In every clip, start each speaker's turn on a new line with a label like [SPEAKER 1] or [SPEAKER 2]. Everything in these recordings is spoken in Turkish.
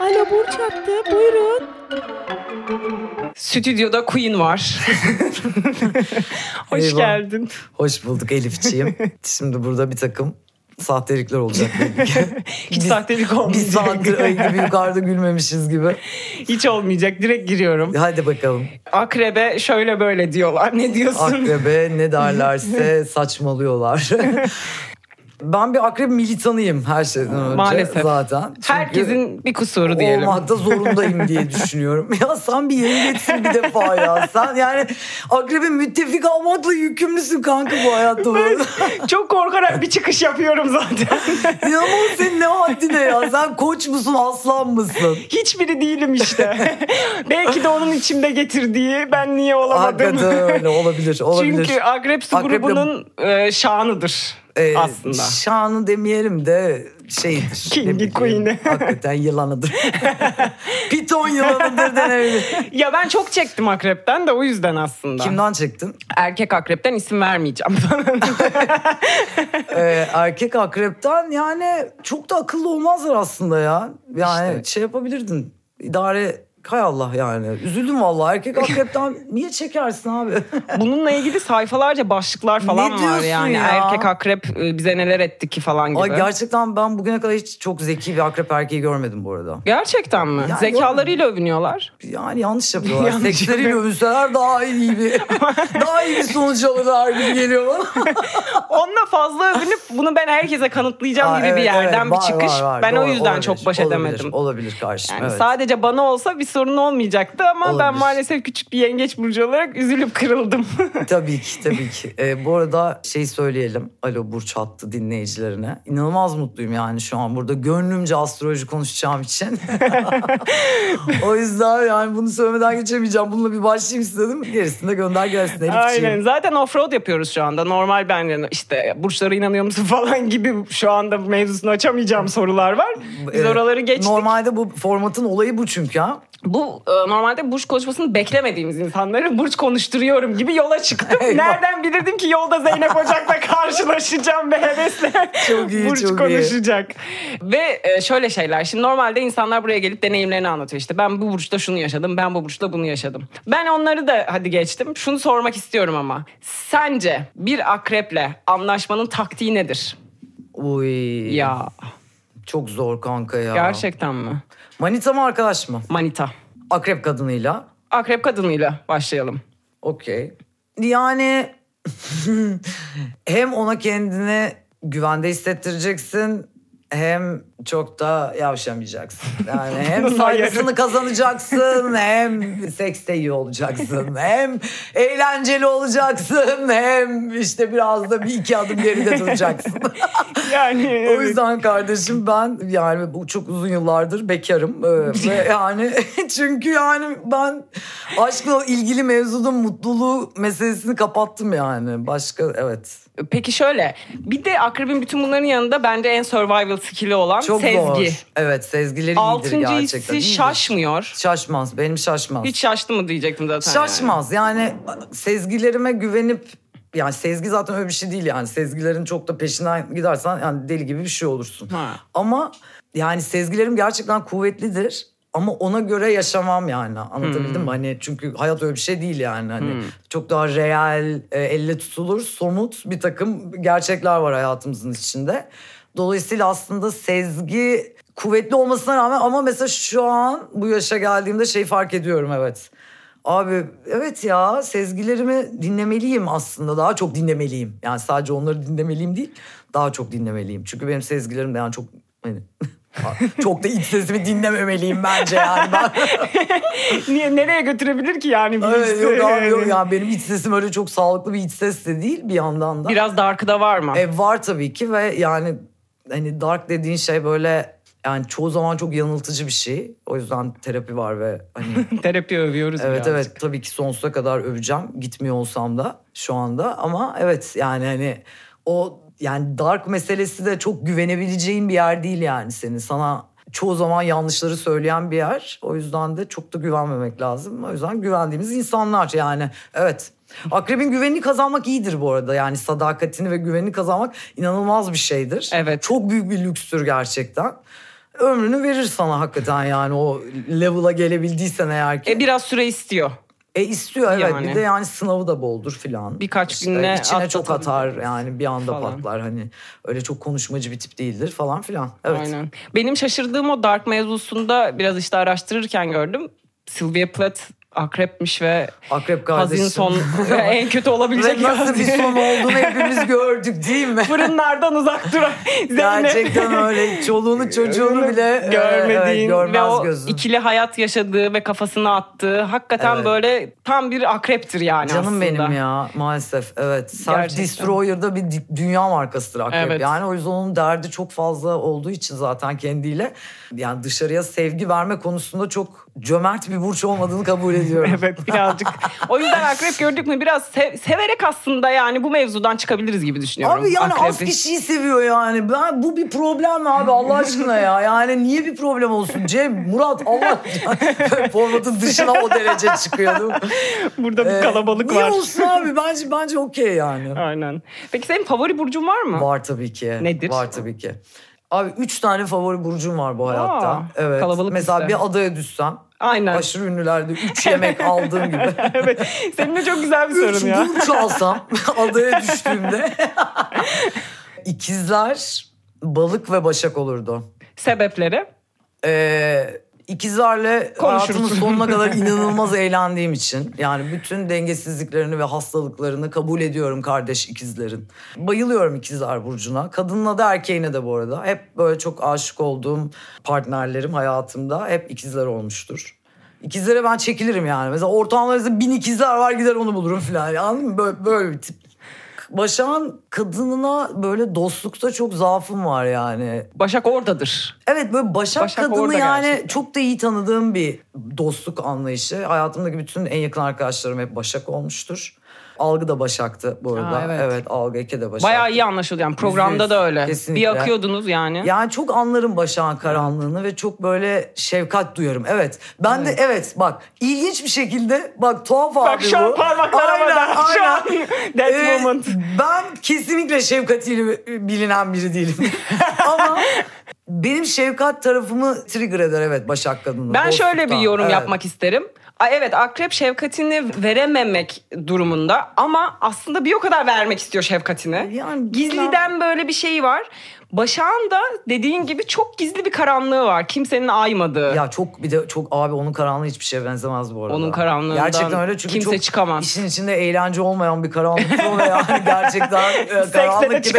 [SPEAKER 1] Alo Burç attı. Buyurun.
[SPEAKER 2] Stüdyoda Queen var. Hoş
[SPEAKER 3] Eyvah.
[SPEAKER 2] geldin.
[SPEAKER 3] Hoş bulduk Elifçiğim. Şimdi burada bir takım sahtelikler olacak. belli ki.
[SPEAKER 2] Hiç
[SPEAKER 3] Biz-
[SPEAKER 2] sahtelik
[SPEAKER 3] Biz
[SPEAKER 2] olmayacak.
[SPEAKER 3] saattir ayı gibi yukarıda gülmemişiz gibi.
[SPEAKER 2] Hiç olmayacak. Direkt giriyorum.
[SPEAKER 3] Hadi bakalım.
[SPEAKER 2] Akrebe şöyle böyle diyorlar. Ne diyorsun?
[SPEAKER 3] Akrebe ne derlerse saçmalıyorlar. ben bir akrep militanıyım her şeyden önce
[SPEAKER 2] Maalesef.
[SPEAKER 3] zaten. Çünkü
[SPEAKER 2] Herkesin bir kusuru diyelim.
[SPEAKER 3] Olmakta zorundayım diye düşünüyorum. Ya sen bir yere geçsin bir defa ya. Sen yani akrebin müttefik olmakla yükümlüsün kanka bu hayatta. Ben...
[SPEAKER 2] Çok korkarak bir çıkış yapıyorum zaten.
[SPEAKER 3] İnanılmaz senin ne haddine ya. Sen koç musun aslan mısın?
[SPEAKER 2] Hiçbiri değilim işte. Belki de onun içimde getirdiği ben niye olamadım.
[SPEAKER 3] Hakikaten öyle olabilir. olabilir.
[SPEAKER 2] Çünkü Akrep Su
[SPEAKER 3] Akrep de-
[SPEAKER 2] grubunun e, şanıdır
[SPEAKER 3] Ee,
[SPEAKER 2] aslında.
[SPEAKER 3] Şanı demeyelim de şeydir.
[SPEAKER 2] Kingi,
[SPEAKER 3] ne bileyim,
[SPEAKER 2] Queen'i.
[SPEAKER 3] Hakikaten yılanıdır. Piton yılanıdır denebilir.
[SPEAKER 2] Ya ben çok çektim akrepten de o yüzden aslında.
[SPEAKER 3] Kimden çektin?
[SPEAKER 2] Erkek akrepten isim vermeyeceğim.
[SPEAKER 3] Ee, erkek akrepten yani çok da akıllı olmazlar aslında ya. Yani
[SPEAKER 2] İşte.
[SPEAKER 3] şey yapabilirdin. İdare Hay Allah yani. Üzüldüm vallahi. Erkek akrepten niye çekersin abi?
[SPEAKER 2] Bununla ilgili sayfalarca başlıklar falan
[SPEAKER 3] Ne
[SPEAKER 2] var
[SPEAKER 3] diyorsun
[SPEAKER 2] yani.
[SPEAKER 3] ya?
[SPEAKER 2] Erkek akrep e, bize neler etti ki falan gibi.
[SPEAKER 3] Ay gerçekten ben bugüne kadar hiç çok zeki bir akrep erkeği görmedim bu arada.
[SPEAKER 2] Gerçekten mi?
[SPEAKER 3] Yani
[SPEAKER 2] Zekalarıyla övünüyorlar.
[SPEAKER 3] Yani yanlış yapıyorlar.
[SPEAKER 2] Yanlış
[SPEAKER 3] Seksleri
[SPEAKER 2] yapıyor.
[SPEAKER 3] övünseler daha iyi bir daha iyi bir sonuç alırlar gibi geliyor bana.
[SPEAKER 2] Onunla fazla övünüp bunu ben herkese kanıtlayacağım
[SPEAKER 3] Aa,
[SPEAKER 2] gibi bir
[SPEAKER 3] evet,
[SPEAKER 2] yerden
[SPEAKER 3] evet.
[SPEAKER 2] bir
[SPEAKER 3] Var,
[SPEAKER 2] çıkış.
[SPEAKER 3] var, var.
[SPEAKER 2] Ben o
[SPEAKER 3] Doğru,
[SPEAKER 2] yüzden
[SPEAKER 3] olabilir,
[SPEAKER 2] çok baş
[SPEAKER 3] olabilir,
[SPEAKER 2] edemedim.
[SPEAKER 3] Olabilir karşıma.
[SPEAKER 2] Yani
[SPEAKER 3] evet.
[SPEAKER 2] sadece bana olsa bir sorun olmayacaktı ama ben
[SPEAKER 3] Olabilir.
[SPEAKER 2] maalesef küçük bir yengeç burcu olarak üzülüp kırıldım.
[SPEAKER 3] Tabii ki tabii ki. Ee, bu arada şey söyleyelim. Alo Burç attı dinleyicilerine. İnanılmaz mutluyum yani şu an burada. Gönlümce astroloji konuşacağım için. o yüzden yani bunu söylemeden geçemeyeceğim. Bununla bir başlayayım istedim. Gerisini de gönder gelsin Elifciğim.
[SPEAKER 2] Aynen. Zaten offroad yapıyoruz şu anda. Normal ben yani işte burçlara inanıyor musun falan gibi şu anda mevzusunu açamayacağım sorular var. Biz
[SPEAKER 3] Ee,
[SPEAKER 2] oraları geçtik.
[SPEAKER 3] Normalde bu formatın olayı bu çünkü ha.
[SPEAKER 2] Bu e, normalde burç konuşmasını beklemediğimiz insanları burç konuşturuyorum gibi yola çıktım.
[SPEAKER 3] Eyvah.
[SPEAKER 2] Nereden bilirdim ki yolda Zeynep Ocak'la karşılaşacağım ve hevesle
[SPEAKER 3] Çok iyi,
[SPEAKER 2] burç
[SPEAKER 3] çok iyi.
[SPEAKER 2] konuşacak. Ve e, şöyle şeyler. Şimdi normalde insanlar buraya gelip deneyimlerini anlatıyor. İşte ben bu burçta şunu yaşadım, ben bu burçta bunu yaşadım. Ben onları da hadi geçtim. Şunu sormak istiyorum ama. Sence bir akreple anlaşmanın taktiği nedir?
[SPEAKER 3] Uy.
[SPEAKER 2] Ya
[SPEAKER 3] Çok zor kanka ya.
[SPEAKER 2] gerçekten mi?
[SPEAKER 3] Manita mı arkadaş mı?
[SPEAKER 2] Manita.
[SPEAKER 3] Akrep kadınıyla.
[SPEAKER 2] Akrep kadınıyla başlayalım.
[SPEAKER 3] Okey. Yani hem ona kendini güvende hissettireceksin hem çok da yavşamayacaksın. Yani hem
[SPEAKER 2] Nasıl hayır?
[SPEAKER 3] saygısını kazanacaksın hem sekste iyi olacaksın hem eğlenceli olacaksın hem işte biraz da bir iki adım geride duracaksın.
[SPEAKER 2] Yani
[SPEAKER 3] O
[SPEAKER 2] evet.
[SPEAKER 3] yüzden kardeşim ben yani bu çok uzun yıllardır bekarım. Ee, ve yani çünkü yani ben aşkla ilgili mevzuda mutluluğu meselesini kapattım yani. Başka evet.
[SPEAKER 2] Peki şöyle bir de akrebin bütün bunların yanında bence en survival skill'i olan
[SPEAKER 3] Çok
[SPEAKER 2] sezgi.
[SPEAKER 3] zor. Evet sezgileri iyidir
[SPEAKER 2] Altıncı
[SPEAKER 3] gerçekten.
[SPEAKER 2] hissi
[SPEAKER 3] iyidir.
[SPEAKER 2] şaşmıyor.
[SPEAKER 3] Şaşmaz. Benim şaşmaz.
[SPEAKER 2] Hiç şaştı mı diyecektim zaten.
[SPEAKER 3] Şaşmaz yani sezgilerime güvenip yani sezgi zaten öyle bir şey değil yani sezgilerin çok da peşinden gidersen yani deli gibi bir şey olursun.
[SPEAKER 2] Ha.
[SPEAKER 3] Ama yani sezgilerim gerçekten kuvvetlidir ama ona göre yaşamam yani anlatabildim
[SPEAKER 2] Hmm.
[SPEAKER 3] mi? Hani çünkü hayat öyle bir şey değil yani hani çok daha real e, elle tutulur somut bir takım gerçekler var hayatımızın içinde. Dolayısıyla aslında sezgi kuvvetli olmasına rağmen ama mesela şu an bu yaşa geldiğimde şey fark ediyorum evet. Abi evet ya sezgilerimi dinlemeliyim aslında daha çok dinlemeliyim. Yani sadece onları dinlemeliyim değil daha çok dinlemeliyim. Çünkü benim sezgilerim de yani çok hani, çok da iç sesimi dinlememeliyim bence yani. Ben,
[SPEAKER 2] Yani. Niye, nereye götürebilir ki yani
[SPEAKER 3] Evet,
[SPEAKER 2] birisi?
[SPEAKER 3] yok abi yok
[SPEAKER 2] Yani.
[SPEAKER 3] yani benim iç sesim öyle çok sağlıklı bir iç ses de değil bir yandan da.
[SPEAKER 2] Biraz dark'ı da var mı?
[SPEAKER 3] E, var tabii ki ve yani hani dark dediğin şey böyle yani çoğu zaman çok yanıltıcı bir şey. O yüzden terapi var ve hani
[SPEAKER 2] Terapi övüyoruz
[SPEAKER 3] Evet
[SPEAKER 2] birazcık.
[SPEAKER 3] evet tabii ki sonsuza kadar öveceğim gitmiyor olsam da şu anda ama evet yani hani o yani dark meselesi de çok güvenebileceğin bir yer değil yani senin sana çoğu zaman yanlışları söyleyen bir yer o yüzden de çok da güvenmemek lazım o yüzden güvendiğimiz insanlar yani evet. Akrebin güvenini kazanmak iyidir bu arada yani sadakatini ve güvenini kazanmak inanılmaz bir şeydir.
[SPEAKER 2] Evet.
[SPEAKER 3] Çok büyük bir lükstür gerçekten. ömrünü verir sana hakikaten yani o level'a gelebildiysen eğer ki.
[SPEAKER 2] E biraz süre istiyor.
[SPEAKER 3] E istiyor evet
[SPEAKER 2] Yani.
[SPEAKER 3] bir de yani sınavı da boldur filan.
[SPEAKER 2] Birkaç
[SPEAKER 3] İşte
[SPEAKER 2] günle
[SPEAKER 3] içine çok atar
[SPEAKER 2] atlatabilir.
[SPEAKER 3] yani bir anda
[SPEAKER 2] Falan.
[SPEAKER 3] patlar hani öyle çok konuşmacı bir tip değildir falan filan. Evet.
[SPEAKER 2] Aynen. Benim şaşırdığım o Dark mevzusunda biraz işte araştırırken gördüm. Sylvia Plath akrepmiş ve
[SPEAKER 3] Akrep kardeşim.
[SPEAKER 2] hazin son en kötü olabilecek
[SPEAKER 3] Ve nasıl
[SPEAKER 2] yazdı.
[SPEAKER 3] bir son olduğunu hepimiz gördük değil mi?
[SPEAKER 2] Fırınlardan uzak dur.
[SPEAKER 3] Gerçekten öyle çoluğunu çocuğunu bile
[SPEAKER 2] görmediğin
[SPEAKER 3] görmediğin
[SPEAKER 2] ve
[SPEAKER 3] görmez
[SPEAKER 2] o
[SPEAKER 3] gözün.
[SPEAKER 2] ikili hayat yaşadığı ve kafasını attığı hakikaten
[SPEAKER 3] Evet.
[SPEAKER 2] böyle tam bir akreptir yani
[SPEAKER 3] Canım
[SPEAKER 2] Hani aslında.
[SPEAKER 3] benim ya maalesef evet. Self
[SPEAKER 2] Gerçekten.
[SPEAKER 3] Destroyer'da bir di- dünya markasıdır akrep.
[SPEAKER 2] Evet.
[SPEAKER 3] Yani o yüzden onun derdi çok fazla olduğu için zaten kendiyle yani dışarıya sevgi verme konusunda çok cömert bir burç olmadığını kabul ediyorum.
[SPEAKER 2] Evet birazcık. o yüzden akrep gördük mü biraz se- severek aslında yani bu mevzudan çıkabiliriz gibi düşünüyorum.
[SPEAKER 3] Abi yani az
[SPEAKER 2] Akrebi.
[SPEAKER 3] kişiyi seviyor yani. Ben bu bir problem mi abi Allah aşkına ya. Yani niye bir problem olsun Cem, Murat Allah formatın dışına o derece çıkıyor değil mi?
[SPEAKER 2] Burada bir
[SPEAKER 3] Ee,
[SPEAKER 2] kalabalık
[SPEAKER 3] niye
[SPEAKER 2] var.
[SPEAKER 3] olsun abi? Bence bence okey yani.
[SPEAKER 2] Aynen. Peki senin favori burcun var mı?
[SPEAKER 3] Var tabii ki.
[SPEAKER 2] Nedir?
[SPEAKER 3] Var tabii ki. Abi üç tane favori burcum var bu hayatta. evet.
[SPEAKER 2] kalabalık
[SPEAKER 3] Mesela
[SPEAKER 2] liste.
[SPEAKER 3] bir adaya düşsem.
[SPEAKER 2] Aynen.
[SPEAKER 3] Aşırı ünlülerde üç yemek aldığım gibi.
[SPEAKER 2] evet. Senin de çok güzel bir
[SPEAKER 3] üç
[SPEAKER 2] sorun ya.
[SPEAKER 3] burç alsam adaya düştüğümde. İkizler, balık ve başak olurdu.
[SPEAKER 2] Sebepleri.
[SPEAKER 3] Ee, ikizlerle
[SPEAKER 2] Konuşuruz.
[SPEAKER 3] hayatımın sonuna kadar inanılmaz eğlendiğim için. Yani bütün dengesizliklerini ve hastalıklarını kabul ediyorum kardeş ikizlerin. Bayılıyorum ikizler burcuna. Kadınla da erkeğine de bu arada. Hep böyle çok aşık olduğum partnerlerim hayatımda hep ikizler olmuştur. İkizlere ben çekilirim yani. Mesela ortamlarınızda bin ikizler var gider onu bulurum falan. Anladın mı? Böyle, böyle bir tip. Başak'ın kadınına böyle dostlukta çok zaafım var yani.
[SPEAKER 2] Başak oradadır.
[SPEAKER 3] Evet böyle Başak,
[SPEAKER 2] Başak
[SPEAKER 3] kadını
[SPEAKER 2] orada
[SPEAKER 3] yani
[SPEAKER 2] gerçekten.
[SPEAKER 3] çok da iyi tanıdığım bir dostluk anlayışı. Hayatımdaki bütün en yakın arkadaşlarım hep Başak olmuştur. Algı da Başak'tı bu arada.
[SPEAKER 2] Aa,
[SPEAKER 3] evet.
[SPEAKER 2] evet.
[SPEAKER 3] Algı Eke de Başak'tı.
[SPEAKER 2] Bayağı iyi anlaşıldı yani programda
[SPEAKER 3] yüz,
[SPEAKER 2] da öyle.
[SPEAKER 3] kesinlikle.
[SPEAKER 2] Bir akıyordunuz yani.
[SPEAKER 3] Yani çok anlarım Başak'ın karanlığını ve çok böyle şefkat duyarım. Evet. Ben de evet bak ilginç bir şekilde bak tuhaf abi
[SPEAKER 2] Bak şu an
[SPEAKER 3] bu.
[SPEAKER 2] parmaklarıma
[SPEAKER 3] Aynen,
[SPEAKER 2] da. Şu
[SPEAKER 3] aynen.
[SPEAKER 2] an that
[SPEAKER 3] Ee,
[SPEAKER 2] moment.
[SPEAKER 3] Ben kesinlikle şefkatiyle bilinen biri değilim. Ama benim şefkat tarafımı trigger eder evet Başak kadını.
[SPEAKER 2] Ben şöyle bir
[SPEAKER 3] Dostluktan,
[SPEAKER 2] yorum
[SPEAKER 3] evet.
[SPEAKER 2] yapmak isterim. Ay evet akrep şefkatini verememek durumunda ama aslında bir o kadar vermek istiyor şefkatini.
[SPEAKER 3] Yani
[SPEAKER 2] Gizliden böyle bir şey var. Başak'ın da dediğin gibi çok gizli bir karanlığı var. Kimsenin aymadığı.
[SPEAKER 3] Ya çok bir de çok abi onun karanlığı hiçbir şeye benzemez bu arada.
[SPEAKER 2] Onun karanlığından
[SPEAKER 3] gerçekten öyle çünkü
[SPEAKER 2] kimse
[SPEAKER 3] çok
[SPEAKER 2] çıkamaz.
[SPEAKER 3] işin içinde eğlence olmayan bir karanlık o ve yani gerçekten e,
[SPEAKER 2] Sekste de
[SPEAKER 3] karanlık gibi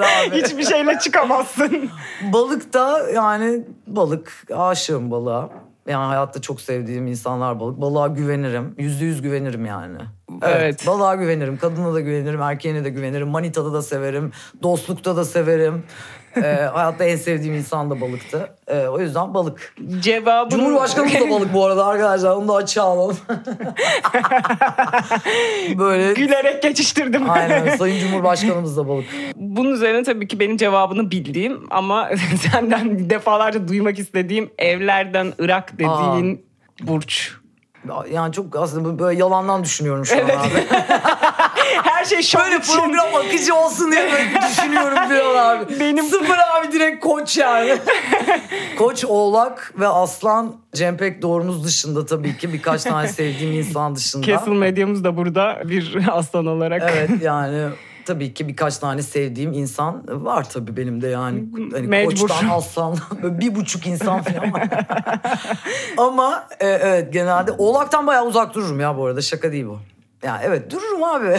[SPEAKER 3] abi.
[SPEAKER 2] Hiçbir şeyle çıkamazsın.
[SPEAKER 3] Balık da yani balık aşığım balığa. Yani hayatta çok sevdiğim insanlar balık. Balığa güvenirim. Yüzde yüz güvenirim yani.
[SPEAKER 2] Evet.
[SPEAKER 3] Balığa güvenirim. Kadına da güvenirim. Erkeğine de güvenirim. Manitada da severim. Dostlukta da severim. Ee, hayatta en sevdiğim insan da balıktı. Ee, o yüzden balık.
[SPEAKER 2] Cevabını...
[SPEAKER 3] Cumhurbaşkanımız da balık bu arada arkadaşlar. Onu da açığa alalım. Böyle
[SPEAKER 2] Gülerek geçiştirdim.
[SPEAKER 3] aynen Sayın Cumhurbaşkanımız da balık.
[SPEAKER 2] Bunun üzerine tabii ki benim cevabını bildiğim ama senden defalarca duymak istediğim evlerden Irak dediğin burç.
[SPEAKER 3] Yani çok aslında bu- böyle yalandan düşünüyorum şu an abi.
[SPEAKER 2] Her şey şov
[SPEAKER 3] Böyle
[SPEAKER 2] için.
[SPEAKER 3] program akıcı olsun diye böyle düşünüyorum bir an abi.
[SPEAKER 2] Benim-
[SPEAKER 3] Sıfır abi direkt koç yani. koç, oğlak ve aslan Cempek doğrumuz dışında tabii ki birkaç tane sevdiğim insan dışında.
[SPEAKER 2] Castle medyamız da burada bir aslan olarak.
[SPEAKER 3] Evet yani tabii ki birkaç tane sevdiğim insan var tabii benim de yani. Hani
[SPEAKER 2] Mecbur.
[SPEAKER 3] Koçtan aslan böyle bir buçuk insan falan. Ama e, evet genelde oğlaktan bayağı uzak dururum ya bu arada şaka değil bu. Ya evet dururum abi.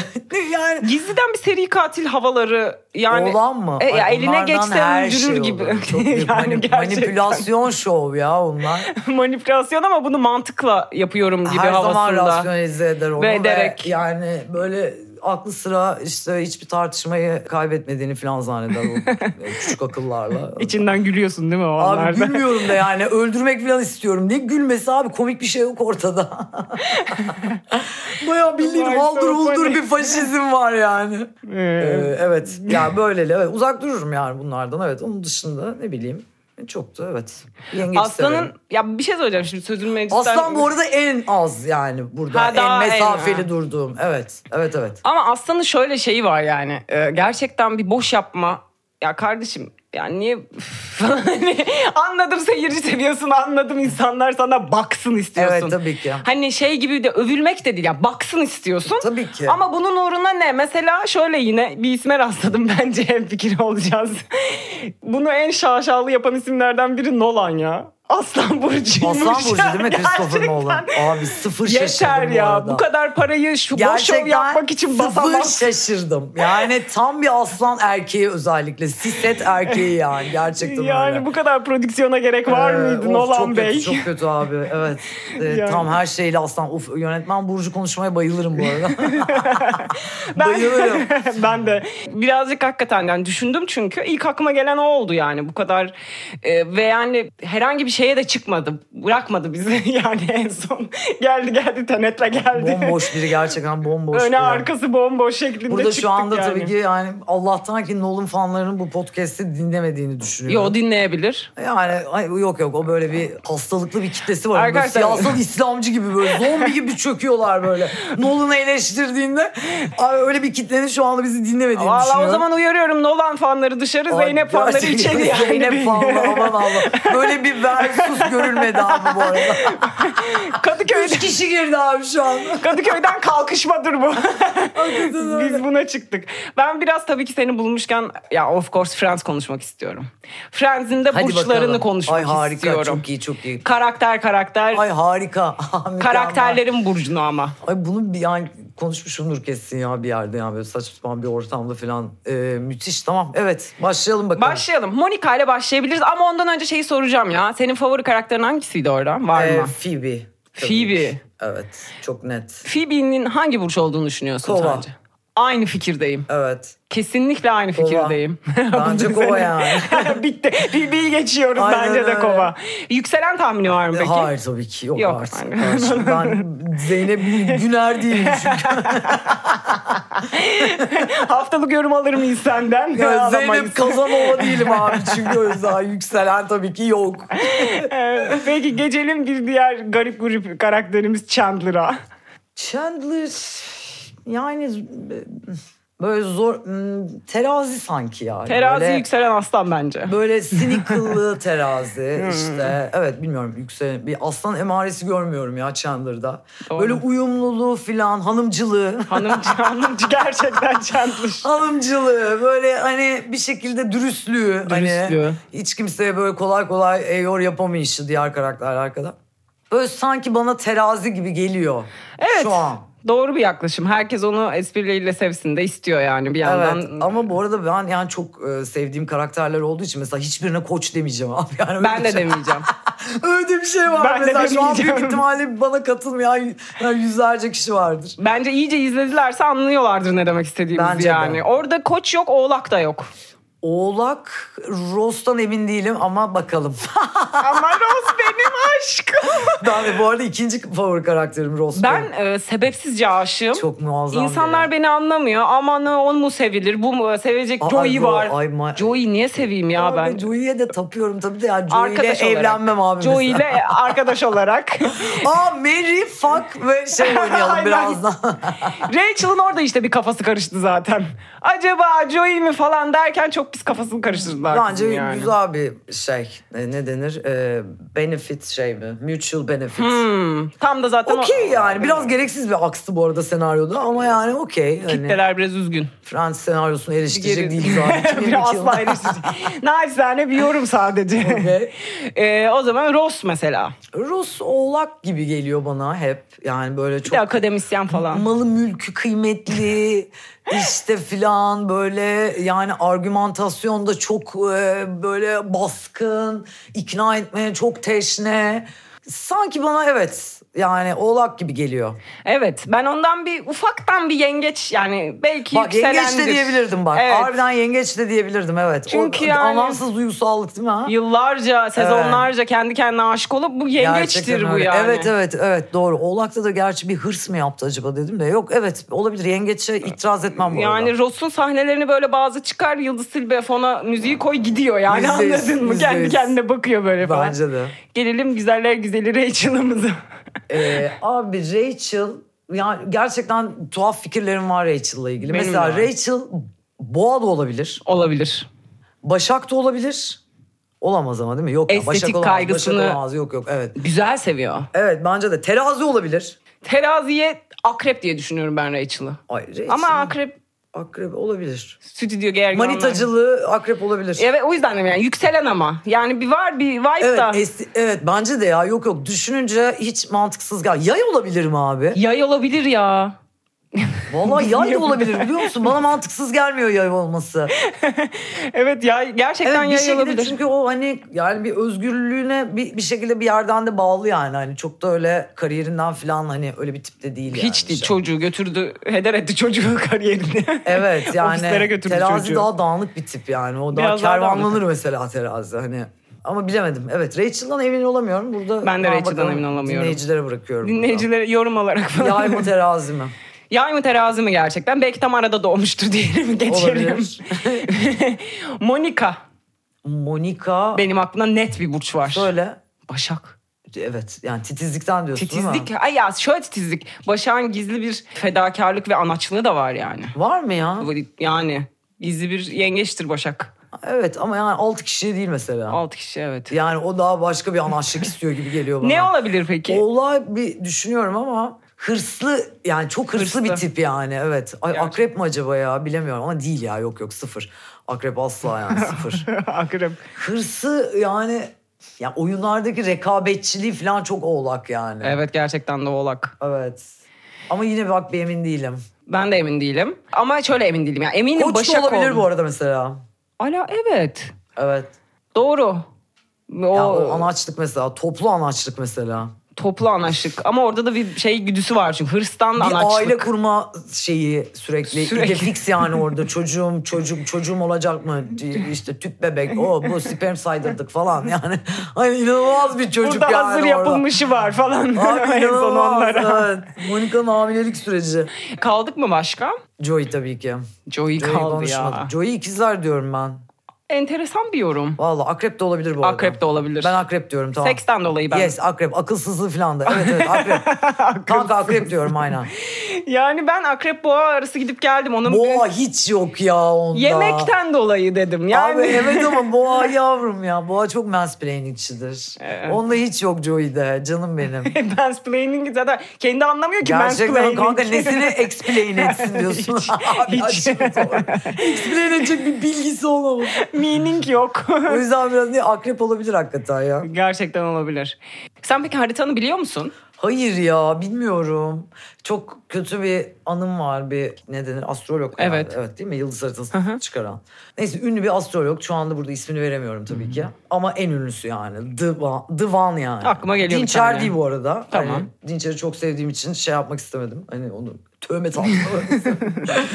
[SPEAKER 3] yani
[SPEAKER 2] Gizliden bir seri katil havaları yani.
[SPEAKER 3] Olan mı?
[SPEAKER 2] E, ya
[SPEAKER 3] Ay,
[SPEAKER 2] eline
[SPEAKER 3] bunlardan
[SPEAKER 2] geçse
[SPEAKER 3] her
[SPEAKER 2] öldürür
[SPEAKER 3] şey
[SPEAKER 2] gibi.
[SPEAKER 3] olur. Çok büyük
[SPEAKER 2] Yani
[SPEAKER 3] mani-
[SPEAKER 2] gerçekten.
[SPEAKER 3] manipülasyon şov ya onlar.
[SPEAKER 2] manipülasyon ama bunu mantıkla yapıyorum gibi
[SPEAKER 3] her zaman
[SPEAKER 2] havasında.
[SPEAKER 3] rasyonelize eder onu.
[SPEAKER 2] Ve
[SPEAKER 3] Ve
[SPEAKER 2] ederek.
[SPEAKER 3] yani böyle aklı sıra işte hiçbir tartışmayı kaybetmediğini falan zanneder o küçük akıllarla.
[SPEAKER 2] İçinden gülüyorsun değil mi o
[SPEAKER 3] Abi
[SPEAKER 2] anlarda?
[SPEAKER 3] gülmüyorum da yani öldürmek falan istiyorum. Ne gülmesi abi komik bir şey yok ortada. Bayağı bildiğin
[SPEAKER 2] Vay,
[SPEAKER 3] haldır
[SPEAKER 2] çok
[SPEAKER 3] huldur
[SPEAKER 2] komik.
[SPEAKER 3] bir faşizm var yani.
[SPEAKER 2] Ee,
[SPEAKER 3] Ee, evet ya böyleli evet. uzak dururum yani bunlardan evet onun dışında ne bileyim çok da evet. Yengeç severim.
[SPEAKER 2] Aslanın ya bir şey söyleyeceğim şimdi sözün meclisten.
[SPEAKER 3] Aslan bu arada en az yani burada
[SPEAKER 2] Ha,
[SPEAKER 3] en
[SPEAKER 2] daha en,
[SPEAKER 3] mesafeli
[SPEAKER 2] ha.
[SPEAKER 3] durduğum evet evet evet.
[SPEAKER 2] şey Ama aslanın şöyle şeyi var yani. Ee, gerçekten bir e, boş yapma ya kardeşim yani niye falan hani anladım seyirci seviyorsun anladım insanlar sana baksın istiyorsun.
[SPEAKER 3] Evet, tabii ki.
[SPEAKER 2] Hani şey gibi de övülmek de değil ya baksın istiyorsun.
[SPEAKER 3] Tabii ki.
[SPEAKER 2] Ama bunun uğruna ne? Mesela şöyle yine bir isme rastladım bence hem fikir olacağız. Bunu en şaşalı yapan isimlerden biri Nolan ya. Aslan Burcu'ymuş.
[SPEAKER 3] Aslan Burcu değil mi Christopher
[SPEAKER 2] Gerçekten.
[SPEAKER 3] Nolan? Abi sıfır şaşırdım
[SPEAKER 2] Yeter
[SPEAKER 3] bu
[SPEAKER 2] ya.
[SPEAKER 3] arada.
[SPEAKER 2] Bu kadar parayı şu boş şov yapmak için
[SPEAKER 3] sıfır
[SPEAKER 2] basamaz.
[SPEAKER 3] şaşırdım. Yani tam bir aslan erkeği özellikle. Siset erkeği yani gerçekten öyle.
[SPEAKER 2] Yani bu kadar prodüksiyona gerek var
[SPEAKER 3] Ee,
[SPEAKER 2] mıydı
[SPEAKER 3] of,
[SPEAKER 2] Nolan
[SPEAKER 3] çok
[SPEAKER 2] Bey?
[SPEAKER 3] Kötü, çok kötü abi evet. Ee,
[SPEAKER 2] Yani.
[SPEAKER 3] Tam her şeyle aslan. Uf yönetmen Burcu konuşmaya bayılırım bu arada. bayılırım.
[SPEAKER 2] ben de birazcık hakikaten yani düşündüm çünkü ilk aklıma gelen o oldu yani bu kadar e, ve yani herhangi bir şeye de çıkmadı bırakmadı bizi yani en son geldi geldi tenetle geldi.
[SPEAKER 3] Bomboş biri gerçekten bomboş
[SPEAKER 2] Öne
[SPEAKER 3] biri.
[SPEAKER 2] arkası bomboş şeklinde
[SPEAKER 3] Burada
[SPEAKER 2] çıktık
[SPEAKER 3] şu anda
[SPEAKER 2] yani.
[SPEAKER 3] tabii ki yani Allah'tan ki Nolan fanlarının bu podcast'i dinlemediğini düşünüyorum.
[SPEAKER 2] Yo dinleyebilir.
[SPEAKER 3] Yani ay, yok yok o böyle bir hastalıklı bir kitlesi var. Böyle
[SPEAKER 2] Arkadaşlar-
[SPEAKER 3] siyasal İslamcı gibi böyle zombi gibi çöküyorlar böyle. Nolan'ı eleştirdiğinde ay, öyle bir kitlenin şu anda bizi dinlemediğini
[SPEAKER 2] Valla
[SPEAKER 3] düşünüyorum.
[SPEAKER 2] o zaman uyarıyorum Nolan fanları dışarı
[SPEAKER 3] Ay,
[SPEAKER 2] Zeynep fanları
[SPEAKER 3] gerçekten
[SPEAKER 2] içeri yani.
[SPEAKER 3] Zeynep fanları aman Allah. Böyle bir versus görülmedi abi bu arada.
[SPEAKER 2] Kadıköy'de,
[SPEAKER 3] Üç kişi girdi abi şu anda.
[SPEAKER 2] Kadıköy'den kalkışmadır bu.
[SPEAKER 3] Hakikaten öyle.
[SPEAKER 2] Biz buna çıktık. Ben biraz tabii ki seni bulmuşken ya of course Friends konuşmak istiyorum. Friends'in de
[SPEAKER 3] Hadi
[SPEAKER 2] burçlarını
[SPEAKER 3] bakalım.
[SPEAKER 2] konuşmak
[SPEAKER 3] Ay harika
[SPEAKER 2] istiyorum.
[SPEAKER 3] çok iyi çok iyi.
[SPEAKER 2] Karakter karakter.
[SPEAKER 3] Ay harika. Mükemmel.
[SPEAKER 2] karakterlerin burcunu ama.
[SPEAKER 3] Ay bunu bir an konuşmuşumdur kesin ya bir yerde ya böyle saçma sapan bir ortamda falan. Ee, müthiş tamam evet başlayalım bakalım.
[SPEAKER 2] Başlayalım. Monika ile başlayabiliriz ama ondan önce şeyi soracağım ya. Senin favori karakterin hangisiydi orada? Var
[SPEAKER 3] Ee,
[SPEAKER 2] mı?
[SPEAKER 3] Phoebe. tabii
[SPEAKER 2] Phoebe.
[SPEAKER 3] ki. Evet çok net.
[SPEAKER 2] Phoebe'nin hangi burç olduğunu düşünüyorsun
[SPEAKER 3] Kova.
[SPEAKER 2] sence? Aynı fikirdeyim.
[SPEAKER 3] Evet.
[SPEAKER 2] Kesinlikle aynı
[SPEAKER 3] Kova.
[SPEAKER 2] fikirdeyim.
[SPEAKER 3] Bence
[SPEAKER 2] Bu da senin-
[SPEAKER 3] kova yani.
[SPEAKER 2] Bitti. Phoebe'yi geçiyoruz
[SPEAKER 3] Aynen
[SPEAKER 2] bence de
[SPEAKER 3] öyle.
[SPEAKER 2] kova. Yükselen tahmini var mı peki?
[SPEAKER 3] Hayır tabii ki yok,
[SPEAKER 2] Yok,
[SPEAKER 3] artık.
[SPEAKER 2] aynen.
[SPEAKER 3] Karşı- Ben Zeynep Güner değilim çünkü.
[SPEAKER 2] Haftalık yorum alır mıyız senden?
[SPEAKER 3] Yani
[SPEAKER 2] Alamayız.
[SPEAKER 3] Zeynep Kazanova değilim abi çünkü o yüzden yükselen tabii ki yok.
[SPEAKER 2] Ee, Peki gecelim bir diğer garip grup karakterimiz Chandler'a.
[SPEAKER 3] Chandler yani böyle zor hmm, terazi sanki yani.
[SPEAKER 2] Terazi
[SPEAKER 3] Böyle-
[SPEAKER 2] yükselen aslan bence.
[SPEAKER 3] Böyle sinikıllı
[SPEAKER 2] Hmm.
[SPEAKER 3] terazi işte. Evet bilmiyorum yükselen bir aslan emaresi görmüyorum ya Chandler'da.
[SPEAKER 2] Doğru.
[SPEAKER 3] Böyle uyumluluğu filan hanımcılığı.
[SPEAKER 2] Hanımcı, hanımcı gerçekten Chandler.
[SPEAKER 3] hanımcılığı böyle hani bir şekilde dürüstlüğü.
[SPEAKER 2] Dürüstlüğü.
[SPEAKER 3] Hani hiç kimseye böyle kolay kolay eyor yapamayışı diğer karakterler arkada. Böyle sanki bana terazi gibi geliyor.
[SPEAKER 2] Evet.
[SPEAKER 3] Şu an.
[SPEAKER 2] Doğru bir yaklaşım. Herkes onu esprileriyle sevsin de istiyor yani bir yandan.
[SPEAKER 3] Evet ama bu arada ben yani çok e, sevdiğim karakterler olduğu için mesela hiçbirine koç demeyeceğim abi. Yani öyle
[SPEAKER 2] Ben
[SPEAKER 3] bir
[SPEAKER 2] de
[SPEAKER 3] şey-
[SPEAKER 2] demeyeceğim.
[SPEAKER 3] Öyle bir şey var
[SPEAKER 2] Ben de
[SPEAKER 3] mesela şu an büyük
[SPEAKER 2] demeyeceğim.
[SPEAKER 3] ihtimalle bana katılmayan yani yüzlerce kişi vardır.
[SPEAKER 2] Bence iyice izledilerse anlıyorlardır ne demek istediğimizi
[SPEAKER 3] Bence de.
[SPEAKER 2] yani. Orada koç yok, oğlak da yok.
[SPEAKER 3] Oğlak Ross'tan emin değilim ama bakalım.
[SPEAKER 2] Ama Rose benim aşkım.
[SPEAKER 3] ben de bu arada ikinci favori karakterim Ross.
[SPEAKER 2] Ben
[SPEAKER 3] benim.
[SPEAKER 2] e, sebepsizce aşığım.
[SPEAKER 3] çok muazzam.
[SPEAKER 2] İnsanlar beni anlamıyor. Aman o mu sevilir? Bu mu sevecek
[SPEAKER 3] Aa,
[SPEAKER 2] Joey
[SPEAKER 3] yo,
[SPEAKER 2] var.
[SPEAKER 3] ay, ma-
[SPEAKER 2] Joey niye seveyim ya
[SPEAKER 3] ya
[SPEAKER 2] ben?
[SPEAKER 3] ben. Joey'ye de tapıyorum tabii de yani Joey ile
[SPEAKER 2] Arkadaş olarak.
[SPEAKER 3] evlenmem abi.
[SPEAKER 2] Joey
[SPEAKER 3] mesela.
[SPEAKER 2] ile arkadaş olarak.
[SPEAKER 3] Aa Mary fuck ve şey oynayalım
[SPEAKER 2] Aynen.
[SPEAKER 3] birazdan.
[SPEAKER 2] Rachel'ın orada işte bir kafası karıştı zaten. Acaba Joey mi falan derken çok pis kafasını karıştırdılar.
[SPEAKER 3] Bence
[SPEAKER 2] kızın yani.
[SPEAKER 3] güzel bir şey. E, Ne denir? E, benefit şey mi? Mutual benefit.
[SPEAKER 2] Hmm, tam da zaten o-
[SPEAKER 3] Okey yani. Biraz gereksiz bir akstı bu arada senaryoda ama yani okey. Hani
[SPEAKER 2] Kitleler biraz üzgün.
[SPEAKER 3] Fransız senaryosunu
[SPEAKER 2] Geri-
[SPEAKER 3] eleştirecek değil zaten.
[SPEAKER 2] Bir Asla eleştirecek. Naçizane bir yorum sadece.
[SPEAKER 3] Okey.
[SPEAKER 2] Ee, o zaman Ross mesela.
[SPEAKER 3] Rus oğlak gibi geliyor bana hep. Yani böyle
[SPEAKER 2] Bir de
[SPEAKER 3] çok
[SPEAKER 2] akademisyen falan.
[SPEAKER 3] malı mülkü kıymetli işte filan böyle yani argümantasyonda çok e, böyle baskın, ikna etmeye çok teşne. Sanki bana evet yani oğlak gibi geliyor.
[SPEAKER 2] Evet ben ondan bir ufaktan bir yengeç yani belki
[SPEAKER 3] Bak yengeç de
[SPEAKER 2] yükselendir.
[SPEAKER 3] diyebilirdim bak.
[SPEAKER 2] Evet.
[SPEAKER 3] Harbiden yengeç de diyebildirdim evet.
[SPEAKER 2] Çünkü
[SPEAKER 3] o,
[SPEAKER 2] yani-
[SPEAKER 3] Anlamsız duygusallık değil mi ha?
[SPEAKER 2] Yıllarca, sezonlarca kendi kendine aşık olup bu yengeçtir
[SPEAKER 3] Gerçekten
[SPEAKER 2] bu
[SPEAKER 3] öyle.
[SPEAKER 2] yani.
[SPEAKER 3] Evet evet evet doğru. Oğlak'ta da gerçi bir hırs mı yaptı acaba dedim de. Yok evet olabilir yengeçe itiraz etmem bu arada.
[SPEAKER 2] Yani Ross'un sahnelerini böyle bazı çıkar Yıldız Silbe fona müziği koy gidiyor yani
[SPEAKER 3] Yüzde yüz,
[SPEAKER 2] anladın mı?
[SPEAKER 3] yüzde
[SPEAKER 2] Kendi
[SPEAKER 3] yüz.
[SPEAKER 2] kendine bakıyor böyle falan.
[SPEAKER 3] Bence de.
[SPEAKER 2] Gelelim güzeller güzeli Rachel'ımıza.
[SPEAKER 3] Ee, abi Rachel yani gerçekten tuhaf fikirlerim var Rachel'la ilgili.
[SPEAKER 2] Benim de
[SPEAKER 3] Mesela
[SPEAKER 2] var.
[SPEAKER 3] Rachel boğa da olabilir.
[SPEAKER 2] Olabilir.
[SPEAKER 3] Başak da olabilir. Olamaz ama değil mi? Yok ya,
[SPEAKER 2] Estetik
[SPEAKER 3] Başak olamaz.
[SPEAKER 2] kaygısını-
[SPEAKER 3] Başak olamaz. Yok yok evet.
[SPEAKER 2] Güzel seviyor.
[SPEAKER 3] Evet bence de terazi olabilir.
[SPEAKER 2] Teraziye akrep diye düşünüyorum ben Rachel'ı.
[SPEAKER 3] Ay, Rachel,
[SPEAKER 2] Ama akrep
[SPEAKER 3] akrep olabilir.
[SPEAKER 2] stüdyo gerginler.
[SPEAKER 3] Manitacılığı akrep olabilir.
[SPEAKER 2] Evet o yüzden dedim yani yükselen ama. Yani bir var bir vibe
[SPEAKER 3] Evet,
[SPEAKER 2] da.
[SPEAKER 3] esti- evet bence de ya yok yok düşününce hiç mantıksız gel. Yay olabilir mi abi?
[SPEAKER 2] Yay olabilir ya.
[SPEAKER 3] Vallahi yay da olabilir biliyor musun? Bana mantıksız gelmiyor yay olması.
[SPEAKER 2] Evet yay
[SPEAKER 3] Evet
[SPEAKER 2] gerçekten
[SPEAKER 3] bir
[SPEAKER 2] yay
[SPEAKER 3] şekilde
[SPEAKER 2] olabilir.
[SPEAKER 3] çünkü o hani yani bir özgürlüğüne bir, bir şekilde bir yerden de bağlı yani. Hani çok da öyle kariyerinden falan hani öyle bir tip de değil yani.
[SPEAKER 2] Hiç değil
[SPEAKER 3] şey.
[SPEAKER 2] çocuğu götürdü. Heder etti çocuğu kariyerini.
[SPEAKER 3] Evet
[SPEAKER 2] Ofislere
[SPEAKER 3] yani
[SPEAKER 2] götürdü
[SPEAKER 3] terazi
[SPEAKER 2] çocuğu.
[SPEAKER 3] daha dağınık bir tip yani. O daha
[SPEAKER 2] Biraz daha
[SPEAKER 3] kervanlanır
[SPEAKER 2] dağınık.
[SPEAKER 3] mesela terazi hani. Ama bilemedim. Evet Rachel'dan emin olamıyorum. Burada
[SPEAKER 2] Ben de
[SPEAKER 3] Ha,
[SPEAKER 2] Rachel'dan
[SPEAKER 3] bakalım,
[SPEAKER 2] emin olamıyorum.
[SPEAKER 3] Dinleyicilere bırakıyorum. buradan.
[SPEAKER 2] Dinleyicilere yorum olarak falan.
[SPEAKER 3] Yay mı terazi mi?
[SPEAKER 2] Yay mı terazi mi gerçekten? Belki tam arada doğmuştur diyelim geçelim.
[SPEAKER 3] Olabilir.
[SPEAKER 2] Monika.
[SPEAKER 3] Monika
[SPEAKER 2] Benim aklımda net bir burç var.
[SPEAKER 3] şöyle
[SPEAKER 2] Başak.
[SPEAKER 3] evet yani titizlikten diyorsun değil
[SPEAKER 2] Titizlik.
[SPEAKER 3] mi?
[SPEAKER 2] Ay ya şöyle titizlik. Başak'ın gizli bir fedakarlık ve anaçlığı da var yani.
[SPEAKER 3] Var mı ya?
[SPEAKER 2] Yani gizli bir yengeçtir Başak.
[SPEAKER 3] Evet ama yani 6 kişi değil mesela.
[SPEAKER 2] 6 kişi evet.
[SPEAKER 3] Yani o daha başka bir anaçlık istiyor gibi geliyor bana.
[SPEAKER 2] Ne olabilir peki?
[SPEAKER 3] Olay bir düşünüyorum ama hırslı yani çok hırslı,
[SPEAKER 2] Hırslı.
[SPEAKER 3] bir tip yani evet. Ay,
[SPEAKER 2] Gerçi.
[SPEAKER 3] akrep mi acaba ya bilemiyorum ama değil ya yok yok sıfır. Akrep asla yani sıfır.
[SPEAKER 2] Akrep.
[SPEAKER 3] Hırsı yani ya oyunlardaki rekabetçiliği falan çok oğlak yani.
[SPEAKER 2] Evet gerçekten de oğlak.
[SPEAKER 3] Evet. Ama yine bak bir emin değilim.
[SPEAKER 2] Ben de emin değilim. Ama şöyle emin değilim. Yani eminim
[SPEAKER 3] Koç da
[SPEAKER 2] Başak
[SPEAKER 3] olabilir
[SPEAKER 2] oldu.
[SPEAKER 3] bu arada mesela.
[SPEAKER 2] Ala evet.
[SPEAKER 3] Evet.
[SPEAKER 2] Doğru. O,
[SPEAKER 3] Ya o anaçlık mesela, toplu anaçlık mesela.
[SPEAKER 2] toplu anaçlık. Ama orada da bir şey güdüsü var çünkü. Hırstan da
[SPEAKER 3] Bir
[SPEAKER 2] anaçlık.
[SPEAKER 3] aile kurma şeyi
[SPEAKER 2] Sürekli.
[SPEAKER 3] sürekli, sürekli. fix yani orada çocuğum çocuğum çocuğum olacak mı işte tüp bebek o bu sperm saydırdık falan yani hani inanılmaz bir çocuk
[SPEAKER 2] Burada
[SPEAKER 3] yani
[SPEAKER 2] hazır
[SPEAKER 3] orada.
[SPEAKER 2] yapılmışı var falan.
[SPEAKER 3] Abi
[SPEAKER 2] en son
[SPEAKER 3] inanılmaz,
[SPEAKER 2] onlara.
[SPEAKER 3] evet. Monika'nın hamilelik süreci.
[SPEAKER 2] Kaldık mı başka?
[SPEAKER 3] Joey tabii ki.
[SPEAKER 2] Joey,
[SPEAKER 3] Joey
[SPEAKER 2] kaldı
[SPEAKER 3] konuşmadık.
[SPEAKER 2] ya.
[SPEAKER 3] Joey ikizler diyorum ben.
[SPEAKER 2] Enteresan bir yorum.
[SPEAKER 3] Valla akrep de olabilir bu arada.
[SPEAKER 2] Akrep de olabilir.
[SPEAKER 3] Ben akrep diyorum tamam.
[SPEAKER 2] Seksten dolayı ben.
[SPEAKER 3] Yes akrep akılsızlığı falan da. Evet evet akrep. Kanka akrep diyorum aynen.
[SPEAKER 2] Yani ben akrep boğa arası gidip geldim. Onun
[SPEAKER 3] Boğa
[SPEAKER 2] bir-
[SPEAKER 3] hiç yok ya onda.
[SPEAKER 2] Yemekten dolayı dedim. Yani
[SPEAKER 3] Abi evet ama boğa yavrum ya. Boğa çok mansplainingçidir. Onda hiç yok Joey'de canım benim.
[SPEAKER 2] mansplaining zaten kendi anlamıyor ki
[SPEAKER 3] Gerçekten
[SPEAKER 2] mansplaining.
[SPEAKER 3] kanka nesini explain etsin diyorsun.
[SPEAKER 2] Hiç,
[SPEAKER 3] Abi
[SPEAKER 2] hiç.
[SPEAKER 3] açık doğru. explain edecek bir bilgisi olamaz.
[SPEAKER 2] Meaning yok.
[SPEAKER 3] O yüzden biraz ne akrep olabilir hakikaten ya.
[SPEAKER 2] Gerçekten olabilir. Sen peki haritanı biliyor musun?
[SPEAKER 3] Hayır ya bilmiyorum. Çok kötü bir anım var bir ne denir astrolog. herhalde.
[SPEAKER 2] Evet.
[SPEAKER 3] Evet değil mi yıldız haritasını çıkaran. Neyse ünlü bir astrolog şu anda burada ismini veremiyorum tabii ki. Ama en ünlüsü yani The One, The One yani.
[SPEAKER 2] Aklıma geliyor bir
[SPEAKER 3] Dinçer
[SPEAKER 2] tane.
[SPEAKER 3] değil bu arada.
[SPEAKER 2] Tamam.
[SPEAKER 3] Hani Dinçer'i çok sevdiğim için şey yapmak istemedim. Hani onu tövmet altına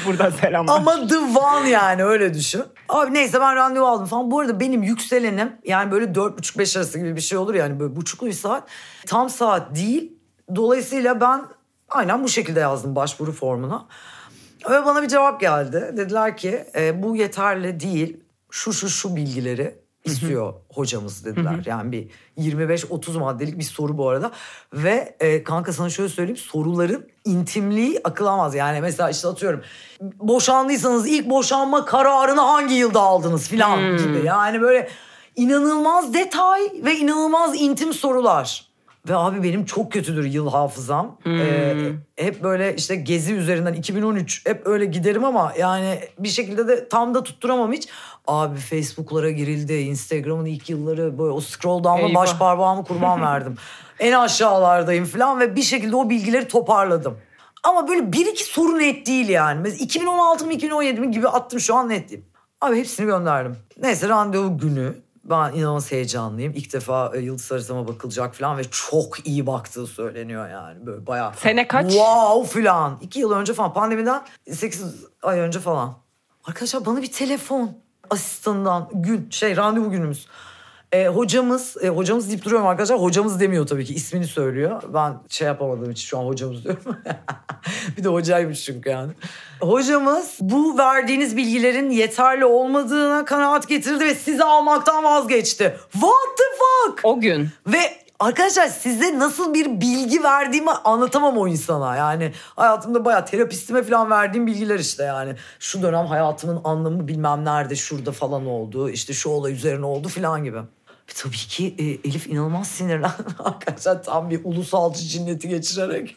[SPEAKER 2] Buradan selamlar.
[SPEAKER 3] Ama the one yani öyle düşün. Abi neyse ben randevu aldım falan. Bu arada benim yükselenim yani böyle 4.30-5 arası gibi bir şey olur yani böyle buçuklu bir saat. Tam saat değil. Dolayısıyla ben aynen bu şekilde yazdım başvuru formuna. Öyle bana bir cevap geldi. Dediler ki "E, bu yeterli değil. Şu şu şu bilgileri istiyor hocamız dediler. Yani bir 25-30 maddelik bir soru bu arada. Ve e, kanka sana şöyle söyleyeyim soruların intimliği akılamaz. Yani mesela işte atıyorum boşandıysanız ilk boşanma kararını hangi yılda aldınız filan gibi. Yani böyle inanılmaz detay ve inanılmaz intim sorular. Ve abi benim çok kötüdür yıl hafızam. Ee, hep böyle işte gezi üzerinden 2013 hep öyle giderim ama yani bir şekilde de tam da tutturamam hiç. Abi Facebook'lara girildi. Instagram'ın ilk yılları böyle o scroll down'la
[SPEAKER 2] Eyvah.
[SPEAKER 3] baş parmağımı kurban verdim. en aşağılardayım falan ve bir şekilde o bilgileri toparladım. Ama böyle bir iki soru net değil yani. Mesela 2016 mı 2017 mi gibi attım şu an net değil. Abi hepsini gönderdim. Neyse randevu günü. Ben inanılmaz heyecanlıyım. İlk defa e, yıldız haritama bakılacak falan ve çok iyi baktığı söyleniyor yani. Böyle bayağı.
[SPEAKER 2] Sene kaç?
[SPEAKER 3] Wow falan. İki yıl önce falan pandemiden 8 ay önce falan. Arkadaşlar bana bir telefon asistandan gün şey randevu günümüz. E, hocamız, e, hocamız deyip duruyorum arkadaşlar. Hocamız demiyor tabii ki ismini söylüyor. Ben şey yapamadığım için şu an hocamız diyorum. bir de hocaymış çünkü yani. Hocamız bu verdiğiniz bilgilerin yeterli olmadığına kanaat getirdi ve sizi almaktan vazgeçti. What the fuck?
[SPEAKER 2] O gün.
[SPEAKER 3] Ve Arkadaşlar size nasıl bir bilgi verdiğimi anlatamam o insana. Yani hayatımda bayağı terapistime falan verdiğim bilgiler işte yani. Şu dönem hayatımın anlamı bilmem nerede şurada falan oldu. işte şu olay üzerine oldu falan gibi. E, Tabii ki e, Elif inanılmaz sinirlendi arkadaşlar tam bir ulusalcı cinneti geçirerek.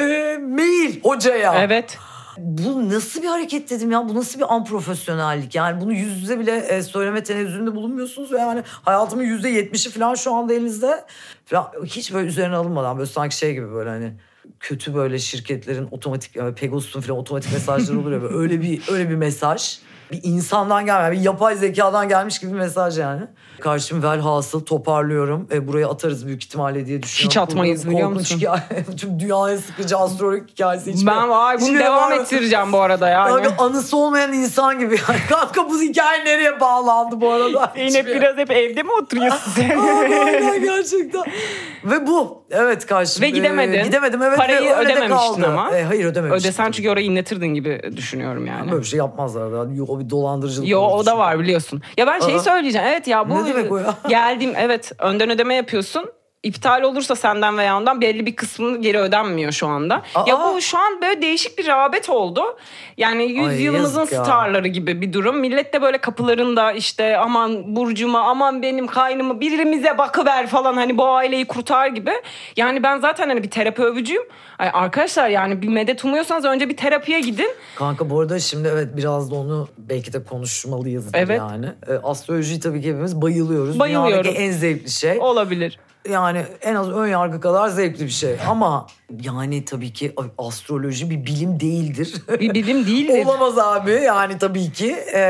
[SPEAKER 3] E, mail hocaya.
[SPEAKER 2] Evet.
[SPEAKER 3] Bu nasıl bir hareket dedim ya bu nasıl bir anprofesyonellik yani bunu yüz yüze bile e, söyleme tenezzülünde bulunmuyorsunuz ve yani hayatımın yüzde yetmişi falan şu anda elinizde falan hiç böyle üzerine alınmadan böyle sanki şey gibi böyle hani kötü böyle şirketlerin otomatik yani Pegasus'un falan otomatik mesajları olur ya böyle öyle bir öyle bir mesaj bir insandan gelmeyen bir yapay zekadan gelmiş gibi bir mesaj yani. Karşım velhasıl toparlıyorum. E, buraya atarız büyük ihtimalle diye düşünüyorum.
[SPEAKER 2] atmayız
[SPEAKER 3] Korkunç
[SPEAKER 2] biliyor musun?
[SPEAKER 3] hikaye. Tüm dünyaya sıkıcı astrolog hikayesi. hiçbir-
[SPEAKER 2] ben vay bunu
[SPEAKER 3] hiçbir
[SPEAKER 2] devam
[SPEAKER 3] yok.
[SPEAKER 2] ettireceğim bu arada yani.
[SPEAKER 3] Kanka anısı olmayan insan gibi. yani. Kanka bu hikaye nereye bağlandı bu arada?
[SPEAKER 2] Yine biraz hep evde mi oturuyorsun sen?
[SPEAKER 3] Aynen gerçekten. Ve bu. Evet karşı. Ee,
[SPEAKER 2] Ve gidemedin.
[SPEAKER 3] gidemedim evet.
[SPEAKER 2] Parayı
[SPEAKER 3] ve öyle de
[SPEAKER 2] ödememiştin
[SPEAKER 3] kaldı.
[SPEAKER 2] ama.
[SPEAKER 3] E, hayır ödememiştim.
[SPEAKER 2] Ödesen çünkü orayı inletirdin gibi düşünüyorum yani.
[SPEAKER 3] Böyle bir şey yapmazlar. da. Yo, o bir dolandırıcılık.
[SPEAKER 2] Yo
[SPEAKER 3] olur
[SPEAKER 2] o da
[SPEAKER 3] çünkü.
[SPEAKER 2] var biliyorsun. Ya ben şeyi
[SPEAKER 3] Aa.
[SPEAKER 2] söyleyeceğim. Evet ya bu
[SPEAKER 3] Ne demek o ya?
[SPEAKER 2] geldiğim evet önden ödeme yapıyorsun. İptal olursa senden veya ondan belli bir kısmı geri ödenmiyor şu anda.
[SPEAKER 3] Aa.
[SPEAKER 2] Ya bu şu an böyle değişik bir rağbet oldu. Yani yüzyılımızın
[SPEAKER 3] yazık ya.
[SPEAKER 2] starları gibi bir durum. Millet de böyle kapılarında işte aman burcuma aman benim kaynımı birimize bakıver falan hani bu aileyi kurtar gibi. Yani ben zaten hani bir terapi övücüyüm. Ay arkadaşlar yani bir medet umuyorsanız önce bir terapiye gidin.
[SPEAKER 3] Kanka bu arada şimdi evet biraz da onu belki de konuşmalıyız
[SPEAKER 2] Evet.
[SPEAKER 3] yani. E, astrolojiyi tabii ki hepimiz bayılıyoruz.
[SPEAKER 2] Bayılıyorum.
[SPEAKER 3] Dünyadaki en zevkli şey.
[SPEAKER 2] Olabilir.
[SPEAKER 3] yani en az ön yargı kadar zevkli bir şey. Ama yani tabii ki astroloji bir bilim değildir.
[SPEAKER 2] Bir bilim değildir.
[SPEAKER 3] Olamaz abi yani tabii ki Ee,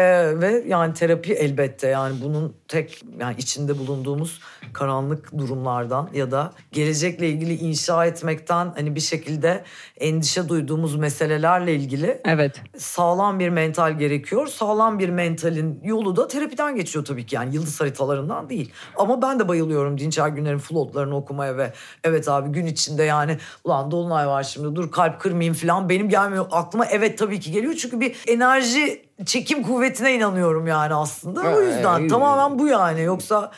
[SPEAKER 3] ve yani terapi elbette yani bunun tek yani içinde bulunduğumuz karanlık durumlardan ya da gelecekle ilgili inşa etmekten hani bir şekilde endişe duyduğumuz meselelerle ilgili
[SPEAKER 2] Evet.
[SPEAKER 3] sağlam bir mental gerekiyor. Sağlam bir mentalin yolu da terapiden geçiyor tabii ki yani yıldız haritalarından değil. Ama ben de bayılıyorum Dinçer Günler'in flotlarını okumaya ve evet abi gün içinde yani ulan dolunay var şimdi dur kalp kırmayayım falan benim gelmiyor aklıma evet tabii ki geliyor çünkü bir enerji çekim kuvvetine inanıyorum yani aslında. O
[SPEAKER 2] Ee,
[SPEAKER 3] yüzden
[SPEAKER 2] iyi.
[SPEAKER 3] tamamen bu yani yoksa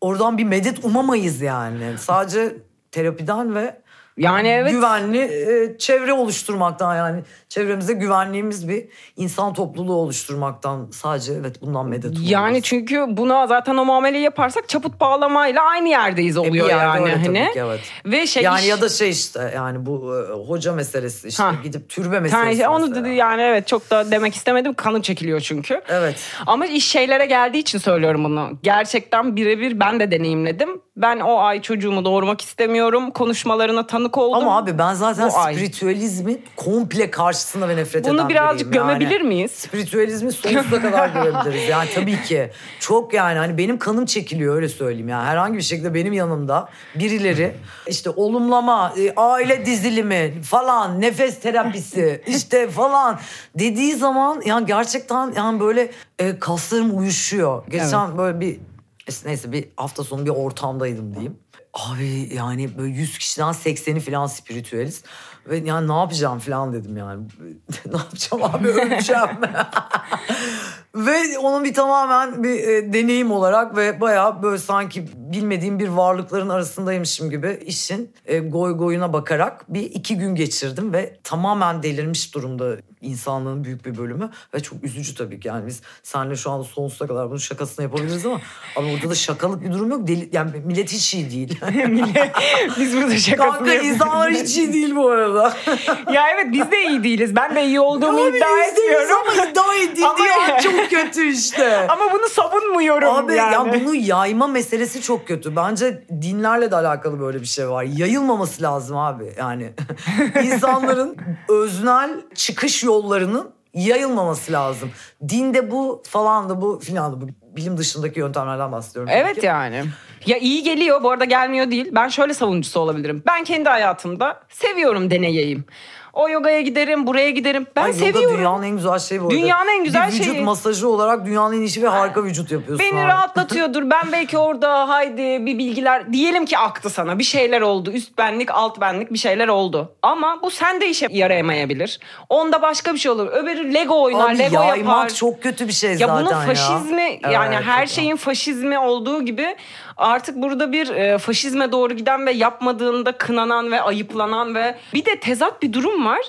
[SPEAKER 3] oradan bir medet umamayız yani. Sadece terapiden ve
[SPEAKER 2] Yani evet.
[SPEAKER 3] güvenli e, çevre oluşturmaktan yani çevremize güvenliğimiz bir insan topluluğu oluşturmaktan sadece evet bundan medet umuruz.
[SPEAKER 2] Yani çünkü buna zaten o muameleyi yaparsak çaput bağlamayla aynı yerdeyiz
[SPEAKER 3] E, bir
[SPEAKER 2] oluyor
[SPEAKER 3] yerde
[SPEAKER 2] yani
[SPEAKER 3] öyle tabii
[SPEAKER 2] hani.
[SPEAKER 3] ki, evet.
[SPEAKER 2] Ve şey
[SPEAKER 3] Yani ya da şey işte yani bu e, hoca meselesi işte
[SPEAKER 2] Ha.
[SPEAKER 3] gidip türbe meselesi.
[SPEAKER 2] yani onu
[SPEAKER 3] mesela.
[SPEAKER 2] dedi yani evet çok da demek istemedim kanım çekiliyor çünkü.
[SPEAKER 3] Evet.
[SPEAKER 2] Ama iş şeylere geldiği için söylüyorum bunu. Gerçekten birebir ben de deneyimledim. Ben o ay çocuğumu doğurmak istemiyorum. Konuşmalarına tanık oldum.
[SPEAKER 3] Ama abi ben zaten
[SPEAKER 2] Bu ay.
[SPEAKER 3] spiritüalizmin komple karşısında ve nefret eden
[SPEAKER 2] bunu birazcık
[SPEAKER 3] biriyim yani.
[SPEAKER 2] gömebilir miyiz?
[SPEAKER 3] Spiritüalizmi sonsuza kadar görebiliriz. Yani tabii ki. Çok yani hani benim kanım çekiliyor öyle söyleyeyim. Yani herhangi bir şekilde benim yanımda birileri işte olumlama, e, aile dizilimi falan, nefes terapisi işte falan dediği zaman yani gerçekten yani böyle e, kaslarım uyuşuyor. Geçen böyle bir neyse bir hafta sonu bir ortamdaydım diyeyim. Abi yani böyle 100 kişiden 80'i falan spiritüelist. Ve yani ne yapacağım falan dedim yani. ne yapacağım abi öleceğim. Ve onun bir tamamen bir e, deneyim olarak ve bayağı böyle sanki bilmediğim bir varlıkların arasındaymışım gibi işin e, goy goyuna bakarak bir iki gün geçirdim ve tamamen delirmiş durumda insanlığın büyük bir bölümü ve çok üzücü tabii ki yani biz senle şu anda sonsuza kadar bunun şakasını yapabiliriz ama abi orada da şakalık bir durum yok deli, yani millet hiç iyi değil.
[SPEAKER 2] Biz burada şakasını
[SPEAKER 3] Kanka
[SPEAKER 2] yapıyoruz.
[SPEAKER 3] insanlar hiç iyi değil bu arada.
[SPEAKER 2] Ya evet biz de iyi değiliz. Ben de iyi olduğumu
[SPEAKER 3] Abi
[SPEAKER 2] iddia
[SPEAKER 3] biz değiliz
[SPEAKER 2] etmiyorum.
[SPEAKER 3] ama iddia edildiği
[SPEAKER 2] Ama-
[SPEAKER 3] an çok kötü işte.
[SPEAKER 2] Ama bunu savunmuyorum
[SPEAKER 3] Abi
[SPEAKER 2] yani.
[SPEAKER 3] ya bunu yayma meselesi çok kötü. Bence dinlerle de alakalı böyle bir şey var. Yayılmaması lazım abi. Yani insanların öznel çıkış yollarının yayılmaması lazım. Dinde bu falan da bu filan da bu. Bilim dışındaki yöntemlerden bahsediyorum. tabii
[SPEAKER 2] Evet
[SPEAKER 3] ki.
[SPEAKER 2] yani. Ya iyi geliyor bu arada gelmiyor değil. Ben şöyle savunucusu olabilirim. Ben kendi hayatımda seviyorum deneyeyim. O yogaya giderim, buraya giderim. Ben
[SPEAKER 3] Ay, yoga
[SPEAKER 2] seviyorum.
[SPEAKER 3] Dünyanın en güzel şeyi bu arada.
[SPEAKER 2] Dünyanın en güzel
[SPEAKER 3] bir vücut
[SPEAKER 2] şeyi.
[SPEAKER 3] masajı olarak dünyanın en iyisi ve harika vücut yapıyorsun.
[SPEAKER 2] Beni
[SPEAKER 3] abi.
[SPEAKER 2] rahatlatıyordur. Ben belki orada haydi bir bilgiler diyelim ki aktı sana. Bir şeyler oldu. Üst benlik, alt benlik bir şeyler oldu. Ama bu sende işe yarayamayabilir. Onda başka bir şey olur. Öbürü Lego oynar,
[SPEAKER 3] Abi
[SPEAKER 2] Lego
[SPEAKER 3] yaymak
[SPEAKER 2] yapar.
[SPEAKER 3] çok kötü bir şey
[SPEAKER 2] Ya
[SPEAKER 3] zaten
[SPEAKER 2] bunun faşizmi
[SPEAKER 3] ya.
[SPEAKER 2] yani
[SPEAKER 3] Evet,
[SPEAKER 2] her
[SPEAKER 3] çok-
[SPEAKER 2] şeyin faşizmi olduğu gibi artık burada bir e, faşizme doğru giden ve yapmadığında kınanan ve ayıplanan ve bir de tezat bir durum var.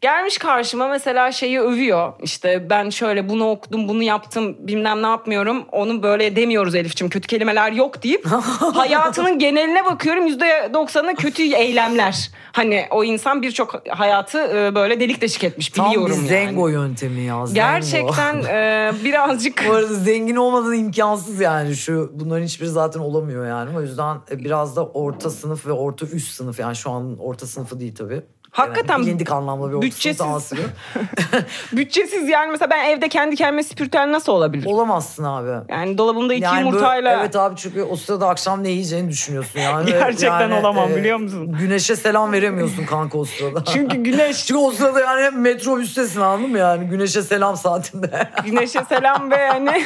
[SPEAKER 2] Gelmiş karşıma mesela şeyi övüyor. İşte ben şöyle bunu okudum, bunu yaptım, bilmem ne yapmıyorum. Onu böyle demiyoruz Elif'ciğim. Kötü kelimeler yok deyip hayatının geneline bakıyorum. %90'ı kötü eylemler. Hani o insan birçok hayatı e, böyle delik deşik etmiş
[SPEAKER 3] Tam
[SPEAKER 2] biliyorum
[SPEAKER 3] bir
[SPEAKER 2] yani.
[SPEAKER 3] zengo yöntemi ya. Zengo.
[SPEAKER 2] Gerçekten e, birazcık
[SPEAKER 3] Bu arada zengin olmadan imkansız yani şu bunların hiçbiri zaten olamıyor yani. O yüzden e, biraz da orta sınıf ve orta üst sınıf yani şu an orta sınıfı değil tabii.
[SPEAKER 2] Hakikaten
[SPEAKER 3] yani bilindik anlamda bir orta
[SPEAKER 2] bütçesiz.
[SPEAKER 3] sınıf daha sınıf.
[SPEAKER 2] bütçesiz yani mesela ben evde kendi kendime spiritüel nasıl olabilir?
[SPEAKER 3] Olamazsın abi.
[SPEAKER 2] Yani dolabımda iki
[SPEAKER 3] Yani böyle-
[SPEAKER 2] yumurtayla
[SPEAKER 3] evet abi çünkü o sırada akşam ne yiyeceğini düşünüyorsun yani. e,
[SPEAKER 2] Gerçekten olamam, biliyor musun?
[SPEAKER 3] Güneşe selam veremiyorsun kanka o sırada.
[SPEAKER 2] Çünkü güneş,
[SPEAKER 3] Çünkü o sırada yani hep metrobüstesin anladın mı yani güneşe selam saatinde.
[SPEAKER 2] güneşe selam ve hani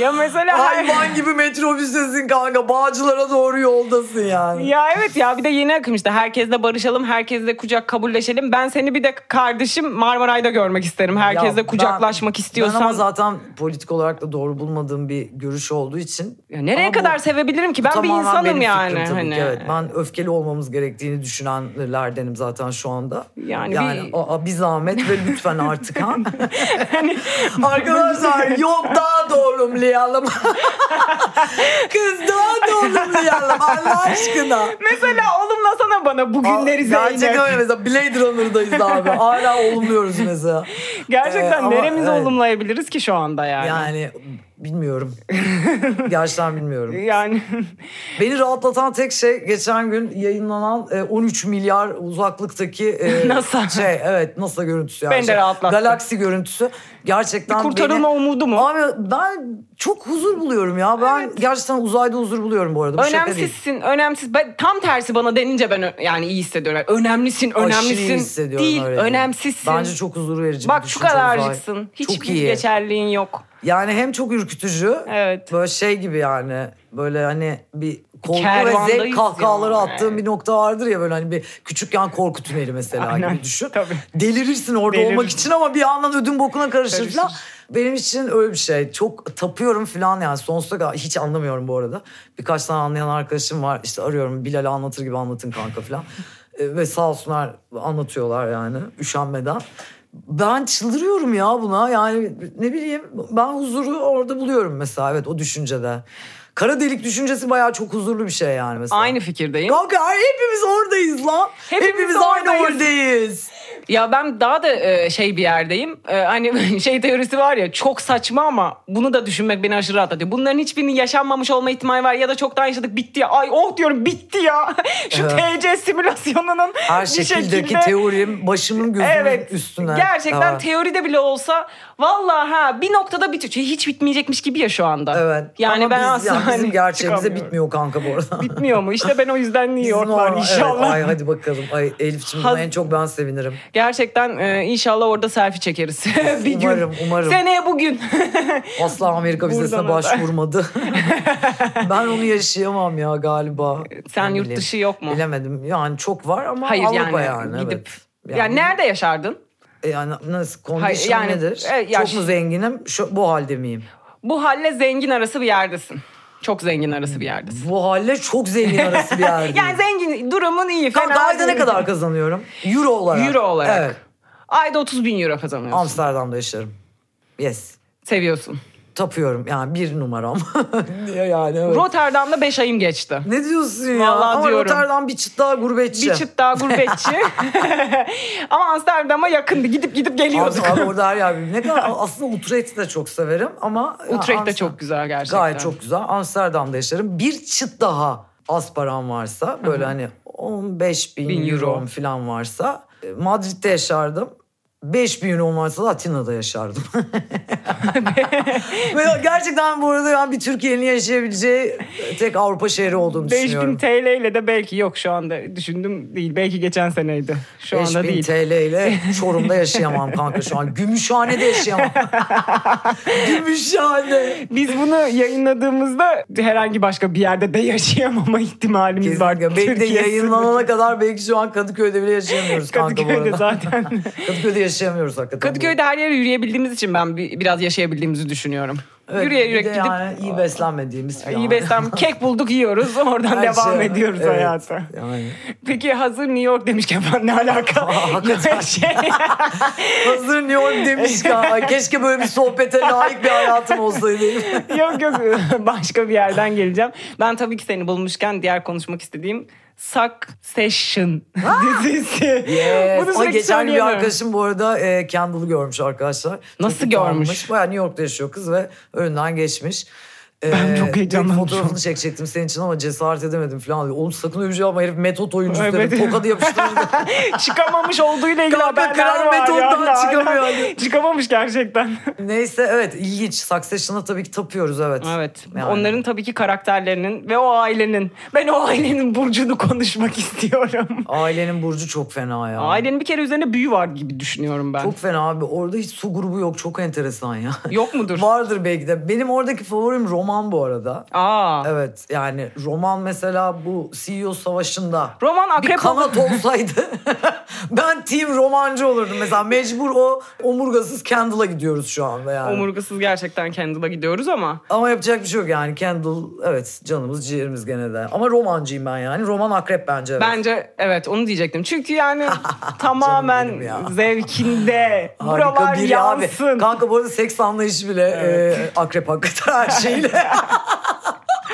[SPEAKER 2] ya mesela
[SPEAKER 3] Hayvan gibi metrobüstesin kanka bağcılara doğru yoldasın yani.
[SPEAKER 2] Ya evet ya bir de yeni akım işte herkesle barışalım, herkesle kucak kabulleşelim. Ben seni bir de kardeşim Marmaray'da görmek isterim. Herkesle
[SPEAKER 3] Ya ben-
[SPEAKER 2] kucaklaşmak
[SPEAKER 3] Ben ama
[SPEAKER 2] istiyorsan.
[SPEAKER 3] zaten politik olarak da doğru bulmadığım bir görüş olduğu için.
[SPEAKER 2] Ya nereye
[SPEAKER 3] Ama bu
[SPEAKER 2] kadar sevebilirim ki? Ben bir
[SPEAKER 3] tamamen benim
[SPEAKER 2] insanım
[SPEAKER 3] fikrim
[SPEAKER 2] yani.
[SPEAKER 3] tabii
[SPEAKER 2] hani.
[SPEAKER 3] ki, evet. Ben öfkeli olmamız gerektiğini düşünenlerdenim zaten şu anda.
[SPEAKER 2] Yani bir-
[SPEAKER 3] aa, bir zahmet ve lütfen artık ha.
[SPEAKER 2] Hani-
[SPEAKER 3] Arkadaşlar yok daha doğrumlayalım. Kız daha doğrumlayalım Allah aşkına.
[SPEAKER 2] Mesela oğlumla sana bana bugünleri
[SPEAKER 3] Aa, Gerçekten
[SPEAKER 2] Zeynep.
[SPEAKER 3] öyle mesela Blade Runner'dayız abi. Hala olumluyoruz mesela. Ee,
[SPEAKER 2] Gerçekten
[SPEAKER 3] ama-
[SPEAKER 2] neremizi
[SPEAKER 3] evet.
[SPEAKER 2] olumlayabiliriz ki şu anda yani. Yani,
[SPEAKER 3] Yani bilmiyorum. Gerçekten bilmiyorum. Beni rahatlatan tek şey geçen gün yayınlanan e, 13 milyar uzaklıktaki e,
[SPEAKER 2] NASA.
[SPEAKER 3] şey evet NASA görüntüsü yani.
[SPEAKER 2] Beni de
[SPEAKER 3] Şey,
[SPEAKER 2] rahatlattı.
[SPEAKER 3] Galaksi görüntüsü. Gerçekten
[SPEAKER 2] kurtarılma
[SPEAKER 3] beni-
[SPEAKER 2] umudu mu?
[SPEAKER 3] Abi ben çok huzur buluyorum ya. Ben gerçekten uzayda huzur buluyorum bu arada. Bu şaka değil.
[SPEAKER 2] Önemsizsin, önemsiz. Ben, tam tersi bana denince ben ö- yani iyi hissediyorum. Yani Önemlisin,
[SPEAKER 3] Aşırı iyi
[SPEAKER 2] önemlisin.
[SPEAKER 3] hissediyorum
[SPEAKER 2] Değil,
[SPEAKER 3] öyle.
[SPEAKER 2] önemsizsin.
[SPEAKER 3] Bence çok huzur verici. bir
[SPEAKER 2] Bak şu
[SPEAKER 3] düşünce uzay.
[SPEAKER 2] kadarcıksın.
[SPEAKER 3] çok
[SPEAKER 2] Hiçbir
[SPEAKER 3] iyi.
[SPEAKER 2] geçerliğin yok.
[SPEAKER 3] Yani hem çok ürkütücü.
[SPEAKER 2] Evet.
[SPEAKER 3] Böyle şey gibi yani. Böyle hani bir korku ve
[SPEAKER 2] Kervandayız
[SPEAKER 3] zevk kahkahaları
[SPEAKER 2] yani.
[SPEAKER 3] attığın bir nokta vardır ya böyle hani bir küçükken korku tüneli mesela
[SPEAKER 2] Aynen,
[SPEAKER 3] gibi düşün.
[SPEAKER 2] tabii.
[SPEAKER 3] Delirirsin orada
[SPEAKER 2] Delirirsin.
[SPEAKER 3] olmak için ama bir yandan ödün bokuna karışır,
[SPEAKER 2] Karışır.
[SPEAKER 3] falan. Benim için öyle bir şey. Çok tapıyorum falan yani sonsuza kadar hiç anlamıyorum bu arada. Birkaç tane anlayan arkadaşım var. İşte arıyorum Bilal'e anlatır gibi anlatın kanka falan. E, ve sağ olsunlar anlatıyorlar yani üşenmeden. Ben çıldırıyorum ya buna yani ne bileyim ben huzuru orada buluyorum mesela evet o düşüncede. Kara delik düşüncesi bayağı çok huzurlu bir şey yani mesela.
[SPEAKER 2] Aynı fikirdeyim.
[SPEAKER 3] Kanka ay, hepimiz oradayız lan. Hepimiz,
[SPEAKER 2] Hepimiz
[SPEAKER 3] aynı
[SPEAKER 2] oradayız.
[SPEAKER 3] oradayız.
[SPEAKER 2] Ya ben daha da e, şey bir yerdeyim. E, hani şey teorisi var ya çok saçma ama bunu da düşünmek beni aşırı rahatlatıyor. Bunların hiçbirinin yaşanmamış olma ihtimali var ya da çoktan yaşadık bitti ya. Ay oh diyorum bitti ya. Şu
[SPEAKER 3] Evet.
[SPEAKER 2] TC simülasyonunun
[SPEAKER 3] Her
[SPEAKER 2] bir
[SPEAKER 3] şekildeki
[SPEAKER 2] şekilde...
[SPEAKER 3] teorim başımın gözümün
[SPEAKER 2] Evet.
[SPEAKER 3] üstüne.
[SPEAKER 2] Gerçekten
[SPEAKER 3] Evet.
[SPEAKER 2] teoride bile olsa vallahi ha bir noktada bitiyor. Çünkü hiç bitmeyecekmiş gibi ya şu anda.
[SPEAKER 3] Evet.
[SPEAKER 2] Yani
[SPEAKER 3] Ama
[SPEAKER 2] ben
[SPEAKER 3] biz-
[SPEAKER 2] aslında
[SPEAKER 3] yani bizim
[SPEAKER 2] hani
[SPEAKER 3] gerçeğimize
[SPEAKER 2] çıkamıyorum.
[SPEAKER 3] bitmiyor kanka bu arada.
[SPEAKER 2] Bitmiyor mu? İşte ben o yüzden New
[SPEAKER 3] Biz
[SPEAKER 2] York'lar
[SPEAKER 3] normal-
[SPEAKER 2] inşallah.
[SPEAKER 3] Evet, ay hadi bakalım. Ay Elif'ciğim buna
[SPEAKER 2] Haz-
[SPEAKER 3] en çok ben sevinirim.
[SPEAKER 2] Gerçekten e, inşallah orada selfie çekeriz. bir gün.
[SPEAKER 3] Umarım, umarım.
[SPEAKER 2] Seneye bugün.
[SPEAKER 3] Asla Amerika
[SPEAKER 2] Buradan
[SPEAKER 3] vizesine
[SPEAKER 2] özel.
[SPEAKER 3] başvurmadı. ben onu yaşayamam ya galiba.
[SPEAKER 2] Sen
[SPEAKER 3] Ne
[SPEAKER 2] yurt
[SPEAKER 3] bileyim.
[SPEAKER 2] dışı yok mu?
[SPEAKER 3] Bilemedim. Yani çok var ama
[SPEAKER 2] Hayır
[SPEAKER 3] Avrupa
[SPEAKER 2] yani,
[SPEAKER 3] yani. evet.
[SPEAKER 2] gidip yani, nerede yaşardın?
[SPEAKER 3] E yani nasıl
[SPEAKER 2] Hayır,
[SPEAKER 3] kondisyon
[SPEAKER 2] yani,
[SPEAKER 3] nedir?
[SPEAKER 2] e, ya
[SPEAKER 3] çok
[SPEAKER 2] şu-
[SPEAKER 3] mu zenginim? Şu, bu halde miyim?
[SPEAKER 2] Bu halle zengin arası bir yerdesin. Çok zengin arası bir yerdesin.
[SPEAKER 3] Bu halde çok zengin arası bir yerdeyim.
[SPEAKER 2] Yani zengin durumun iyi.
[SPEAKER 3] Kanka
[SPEAKER 2] fena
[SPEAKER 3] ayda ne
[SPEAKER 2] değil.
[SPEAKER 3] kadar kazanıyorum? Euro olarak.
[SPEAKER 2] Euro olarak.
[SPEAKER 3] Evet.
[SPEAKER 2] Ayda 30 bin euro kazanıyorsun.
[SPEAKER 3] Amsterdam'da yaşarım. Yes.
[SPEAKER 2] Seviyorsun.
[SPEAKER 3] Tapıyorum yani bir numaram. Niye yani evet.
[SPEAKER 2] Rotterdam'da 5 ayım geçti.
[SPEAKER 3] ne diyorsun ya?
[SPEAKER 2] Vallahi
[SPEAKER 3] Ama
[SPEAKER 2] diyorum.
[SPEAKER 3] Rotterdam bir çıt daha gurbetçi.
[SPEAKER 2] Bir çıt daha gurbetçi. Ama Amsterdam'a yakındı. Gidip gidip geliyorduk.
[SPEAKER 3] Abi, abi orada her yer bir- Ne kadar aslında Utrecht'i de çok severim ama
[SPEAKER 2] Utrecht de
[SPEAKER 3] Amsterdam-
[SPEAKER 2] çok güzel gerçekten.
[SPEAKER 3] Gayet çok güzel. Amsterdam'da yaşarım. Bir çıt daha az param varsa böyle hani 15 bin,
[SPEAKER 2] Bin
[SPEAKER 3] euro
[SPEAKER 2] euro.
[SPEAKER 3] falan varsa e, Madrid'de yaşardım. 5 bin euro varsa da Atina'da yaşardım. Ve gerçekten bu arada ben bir Türkiye'nin yaşayabileceği e, tek Avrupa şehri olduğunu
[SPEAKER 2] 5000
[SPEAKER 3] düşünüyorum.
[SPEAKER 2] TL ile de belki yok şu anda düşündüm değil. Belki geçen seneydi. Şu anda
[SPEAKER 3] 5000
[SPEAKER 2] değil.
[SPEAKER 3] TL ile Çorum'da yaşayamam kanka şu an. Gümüşhane'de yaşayamam. Gümüşhane.
[SPEAKER 2] Biz bunu yayınladığımızda herhangi başka bir yerde de yaşayamama ihtimalimiz var.
[SPEAKER 3] Kesinlikle. Belki de
[SPEAKER 2] Türkiye
[SPEAKER 3] yayınlanana kadar belki şu an Kadıköy'de bile yaşayamıyoruz kanka bu
[SPEAKER 2] Kadıköy'de
[SPEAKER 3] arada.
[SPEAKER 2] zaten.
[SPEAKER 3] Kadıköy'de yaşayamıyoruz hakikaten.
[SPEAKER 2] Kadıköy'de her yere yürüyebildiğimiz için ben bi- biraz yaşayabildiğimizi düşünüyorum.
[SPEAKER 3] Evet,
[SPEAKER 2] yürüye
[SPEAKER 3] bir
[SPEAKER 2] yürek
[SPEAKER 3] de
[SPEAKER 2] gidip
[SPEAKER 3] yani iyi beslenmediğimiz falan.
[SPEAKER 2] iyi beslen kek bulduk yiyoruz oradan
[SPEAKER 3] Her
[SPEAKER 2] devam
[SPEAKER 3] şey-
[SPEAKER 2] ediyoruz
[SPEAKER 3] evet,
[SPEAKER 2] hayata.
[SPEAKER 3] Yani.
[SPEAKER 2] Peki hazır New York demişken falan ne alaka?
[SPEAKER 3] hakikaten.
[SPEAKER 2] şey,
[SPEAKER 3] Hazır New York demişken keşke böyle bir sohbete layık bir hayatım olsaydı.
[SPEAKER 2] şey yok yok başka bir yerden geleceğim. Ben tabii ki seni bulmuşken diğer konuşmak istediğim Succession dizisi. Bunu
[SPEAKER 3] Yes. Ay,
[SPEAKER 2] sürekli
[SPEAKER 3] geçen gün bir
[SPEAKER 2] söyleyemiyorum.
[SPEAKER 3] arkadaşım bu arada e, Kendall'ı görmüş arkadaşlar.
[SPEAKER 2] Nasıl
[SPEAKER 3] Çok
[SPEAKER 2] görmüş?
[SPEAKER 3] utanmış. Bayağı New York'ta yaşıyor kız ve önünden geçmiş.
[SPEAKER 2] Ben
[SPEAKER 3] E,
[SPEAKER 2] çok heyecanlandım şu
[SPEAKER 3] Fotoğrafını çekecektim senin için ama cesaret edemedim falan. diyor. Oğlum sakın öyle bir şey yapma herif metot oyuncusu.
[SPEAKER 2] Evet.
[SPEAKER 3] dedim. Tokadı yapıştırdı.
[SPEAKER 2] Çıkamamış olduğuyla ilgili
[SPEAKER 3] Kanka,
[SPEAKER 2] haberler
[SPEAKER 3] kral
[SPEAKER 2] var.
[SPEAKER 3] metottan
[SPEAKER 2] ya.
[SPEAKER 3] çıkamıyor hani.
[SPEAKER 2] Çıkamamış gerçekten.
[SPEAKER 3] Neyse evet ilginç. Succession'a tabii ki tapıyoruz evet.
[SPEAKER 2] Evet.
[SPEAKER 3] Yani.
[SPEAKER 2] Onların tabii ki karakterlerinin ve o ailenin. Ben o ailenin burcunu konuşmak istiyorum.
[SPEAKER 3] Ailenin burcu çok fena ya.
[SPEAKER 2] Ailenin bir kere üzerine büyü var gibi düşünüyorum ben.
[SPEAKER 3] Çok fena abi. Orada hiç su grubu yok. Çok enteresan ya.
[SPEAKER 2] Yok mudur?
[SPEAKER 3] Vardır belki de. Benim oradaki favorim roman bu arada.
[SPEAKER 2] Aa.
[SPEAKER 3] Evet yani roman mesela bu CEO savaşında
[SPEAKER 2] Roman
[SPEAKER 3] bir
[SPEAKER 2] akrep olur.
[SPEAKER 3] kanat olsaydı ben team romancı olurdum mesela. Mecbur o omurgasız Kendall'a gidiyoruz şu anda yani.
[SPEAKER 2] Omurgasız gerçekten Kendall'a gidiyoruz ama.
[SPEAKER 3] Ama yapacak bir şey yok yani. Kendall evet canımız ciğerimiz gene de. Ama romancıyım ben yani. Roman akrep bence. evet.
[SPEAKER 2] Bence evet onu diyecektim. Çünkü yani
[SPEAKER 3] benim
[SPEAKER 2] tamamen
[SPEAKER 3] ya.
[SPEAKER 2] zevkinde.
[SPEAKER 3] Harika
[SPEAKER 2] Buralar
[SPEAKER 3] biri
[SPEAKER 2] yansın.
[SPEAKER 3] Abi. Kanka bu arada seks anlayışı bile e, akrep hakikaten her şeyle.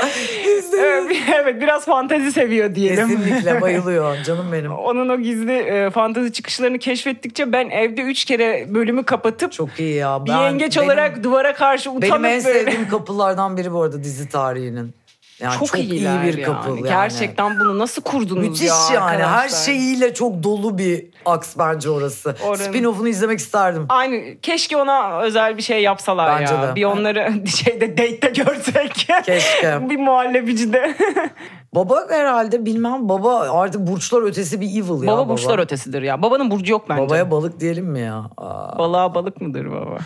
[SPEAKER 2] Evet, Ee, bir- evet biraz fantezi seviyor diyelim.
[SPEAKER 3] Kesinlikle bayılıyor canım benim.
[SPEAKER 2] Onun o gizli e, fantezi çıkışlarını keşfettikçe ben evde üç kere bölümü kapatıp
[SPEAKER 3] Çok iyi ya.
[SPEAKER 2] bir
[SPEAKER 3] Ben-
[SPEAKER 2] yengeç
[SPEAKER 3] benim-
[SPEAKER 2] olarak duvara karşı utanıp
[SPEAKER 3] Benim en
[SPEAKER 2] böyle.
[SPEAKER 3] sevdiğim kapılardan biri bu arada dizi tarihinin. Yani çok, iyi
[SPEAKER 2] iyiler
[SPEAKER 3] bir
[SPEAKER 2] yani.
[SPEAKER 3] kapı. Yani.
[SPEAKER 2] Gerçekten bunu nasıl kurdunuz
[SPEAKER 3] Müthiş
[SPEAKER 2] ya
[SPEAKER 3] yani. Her
[SPEAKER 2] arkadaşlar?
[SPEAKER 3] şeyiyle çok dolu bir aks bence orası.
[SPEAKER 2] Oranın-
[SPEAKER 3] Spin-off'unu izlemek isterdim.
[SPEAKER 2] Aynı keşke ona özel bir şey yapsalar
[SPEAKER 3] Bence
[SPEAKER 2] ya.
[SPEAKER 3] de.
[SPEAKER 2] Bir onları şeyde date'te görsek.
[SPEAKER 3] Keşke.
[SPEAKER 2] bir muhallebicide.
[SPEAKER 3] Baba herhalde bilmem baba artık burçlar ötesi bir evil ya.
[SPEAKER 2] baba burçlar ötesidir ya. Babanın burcu yok bence.
[SPEAKER 3] Babaya balık diyelim mi ya? Aa,
[SPEAKER 2] Balığa balık mıdır baba?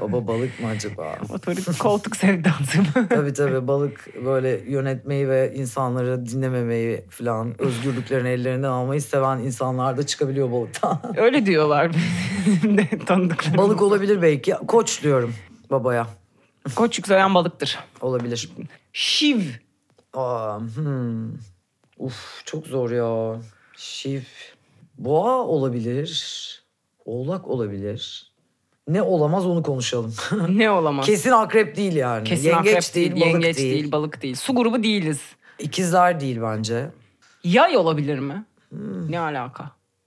[SPEAKER 3] baba balık mı acaba?
[SPEAKER 2] Otorik koltuk sevdası mı?
[SPEAKER 3] tabii tabii balık böyle yönetmeyi ve insanları dinlememeyi falan özgürlüklerini ellerinden almayı seven insanlar da çıkabiliyor balıktan.
[SPEAKER 2] Öyle diyorlar bizim de tanıdıklarım.
[SPEAKER 3] balık olabilir belki. Koç diyorum babaya.
[SPEAKER 2] Koç yükselen balıktır.
[SPEAKER 3] Olabilir.
[SPEAKER 2] Şiv.
[SPEAKER 3] Aa, hmm. Uf çok zor ya. Şiv. Boğa olabilir. Oğlak olabilir. Ne olamaz onu konuşalım.
[SPEAKER 2] Ne olamaz?
[SPEAKER 3] Kesin akrep değil yani.
[SPEAKER 2] Kesin
[SPEAKER 3] yengeç
[SPEAKER 2] akrep
[SPEAKER 3] değil, balık
[SPEAKER 2] yengeç
[SPEAKER 3] değil.
[SPEAKER 2] değil, balık değil. Su grubu değiliz.
[SPEAKER 3] İkizler değil bence.
[SPEAKER 2] Yay olabilir mi? Ne alaka?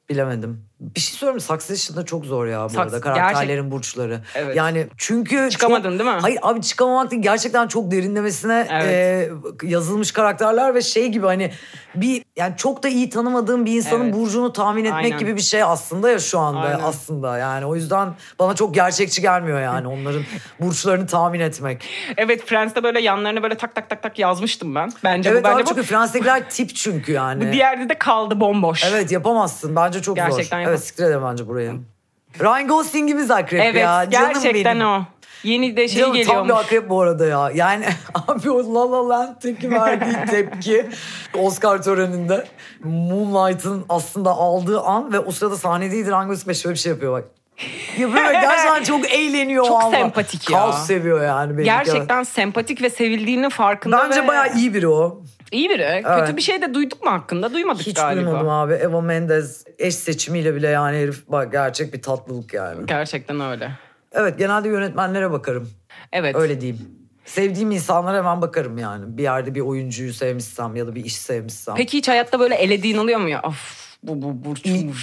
[SPEAKER 3] Bilemedim. Bir şey söyleyeyim mi? Succession'da çok zor ya bu
[SPEAKER 2] Sucks-
[SPEAKER 3] arada karakterlerin burçları.
[SPEAKER 2] Evet.
[SPEAKER 3] Yani çünkü...
[SPEAKER 2] Çıkamadın
[SPEAKER 3] çok-
[SPEAKER 2] değil mi?
[SPEAKER 3] Hayır abi çıkamamak değil. Gerçekten çok derinlemesine
[SPEAKER 2] Evet.
[SPEAKER 3] e, yazılmış karakterler ve şey gibi hani bir yani çok da iyi tanımadığım bir insanın
[SPEAKER 2] Evet.
[SPEAKER 3] burcunu tahmin etmek
[SPEAKER 2] Aynen.
[SPEAKER 3] gibi bir şey aslında ya şu anda
[SPEAKER 2] Aynen.
[SPEAKER 3] aslında yani o yüzden bana çok gerçekçi gelmiyor yani onların burçlarını tahmin etmek.
[SPEAKER 2] Evet Friends'te böyle yanlarına böyle tak tak tak tak yazmıştım ben. Bence
[SPEAKER 3] evet
[SPEAKER 2] bu
[SPEAKER 3] abi
[SPEAKER 2] bence
[SPEAKER 3] çünkü
[SPEAKER 2] bu.
[SPEAKER 3] Fransızdakiler tip çünkü yani.
[SPEAKER 2] Bu diğerde de kaldı bomboş.
[SPEAKER 3] Evet yapamazsın. Bence çok zor.
[SPEAKER 2] Gerçekten yapamaz-
[SPEAKER 3] Evet siktir edin bence burayı. Ryan Gosling'imiz akrep
[SPEAKER 2] Evet,
[SPEAKER 3] ya. Canım
[SPEAKER 2] gerçekten
[SPEAKER 3] benim.
[SPEAKER 2] o. Yeni de şey
[SPEAKER 3] Canım tam
[SPEAKER 2] geliyormuş.
[SPEAKER 3] bir akrep bu arada ya. Yani abi o La La Land'deki verdiği tepki Oscar töreninde Moonlight'ın aslında aldığı an ve o sırada sahnedeydi Ryan Gosling şöyle bir şey yapıyor bak. Yapıyor ve gerçekten çok eğleniyor
[SPEAKER 2] Çok
[SPEAKER 3] ama.
[SPEAKER 2] sempatik ya.
[SPEAKER 3] Kaos seviyor yani. belli ki.
[SPEAKER 2] Gerçekten sempatik ve sevildiğinin farkında
[SPEAKER 3] Bence
[SPEAKER 2] ve...
[SPEAKER 3] bayağı iyi biri o.
[SPEAKER 2] iyi biri. Kötü bir şey de duyduk mu hakkında? Duymadık
[SPEAKER 3] Hiç
[SPEAKER 2] galiba.
[SPEAKER 3] duymadım abi. Eva Mendes eş seçimiyle bile yani herif bak gerçek bir tatlılık yani.
[SPEAKER 2] Gerçekten öyle.
[SPEAKER 3] Evet genelde yönetmenlere bakarım.
[SPEAKER 2] Evet.
[SPEAKER 3] Öyle diyeyim. Sevdiğim insanlara hemen bakarım yani. Bir yerde bir oyuncuyu sevmişsem ya da bir iş sevmişsem.
[SPEAKER 2] Peki hiç hayatta böyle elediğin oluyor mu ya? Of bu bu burçum.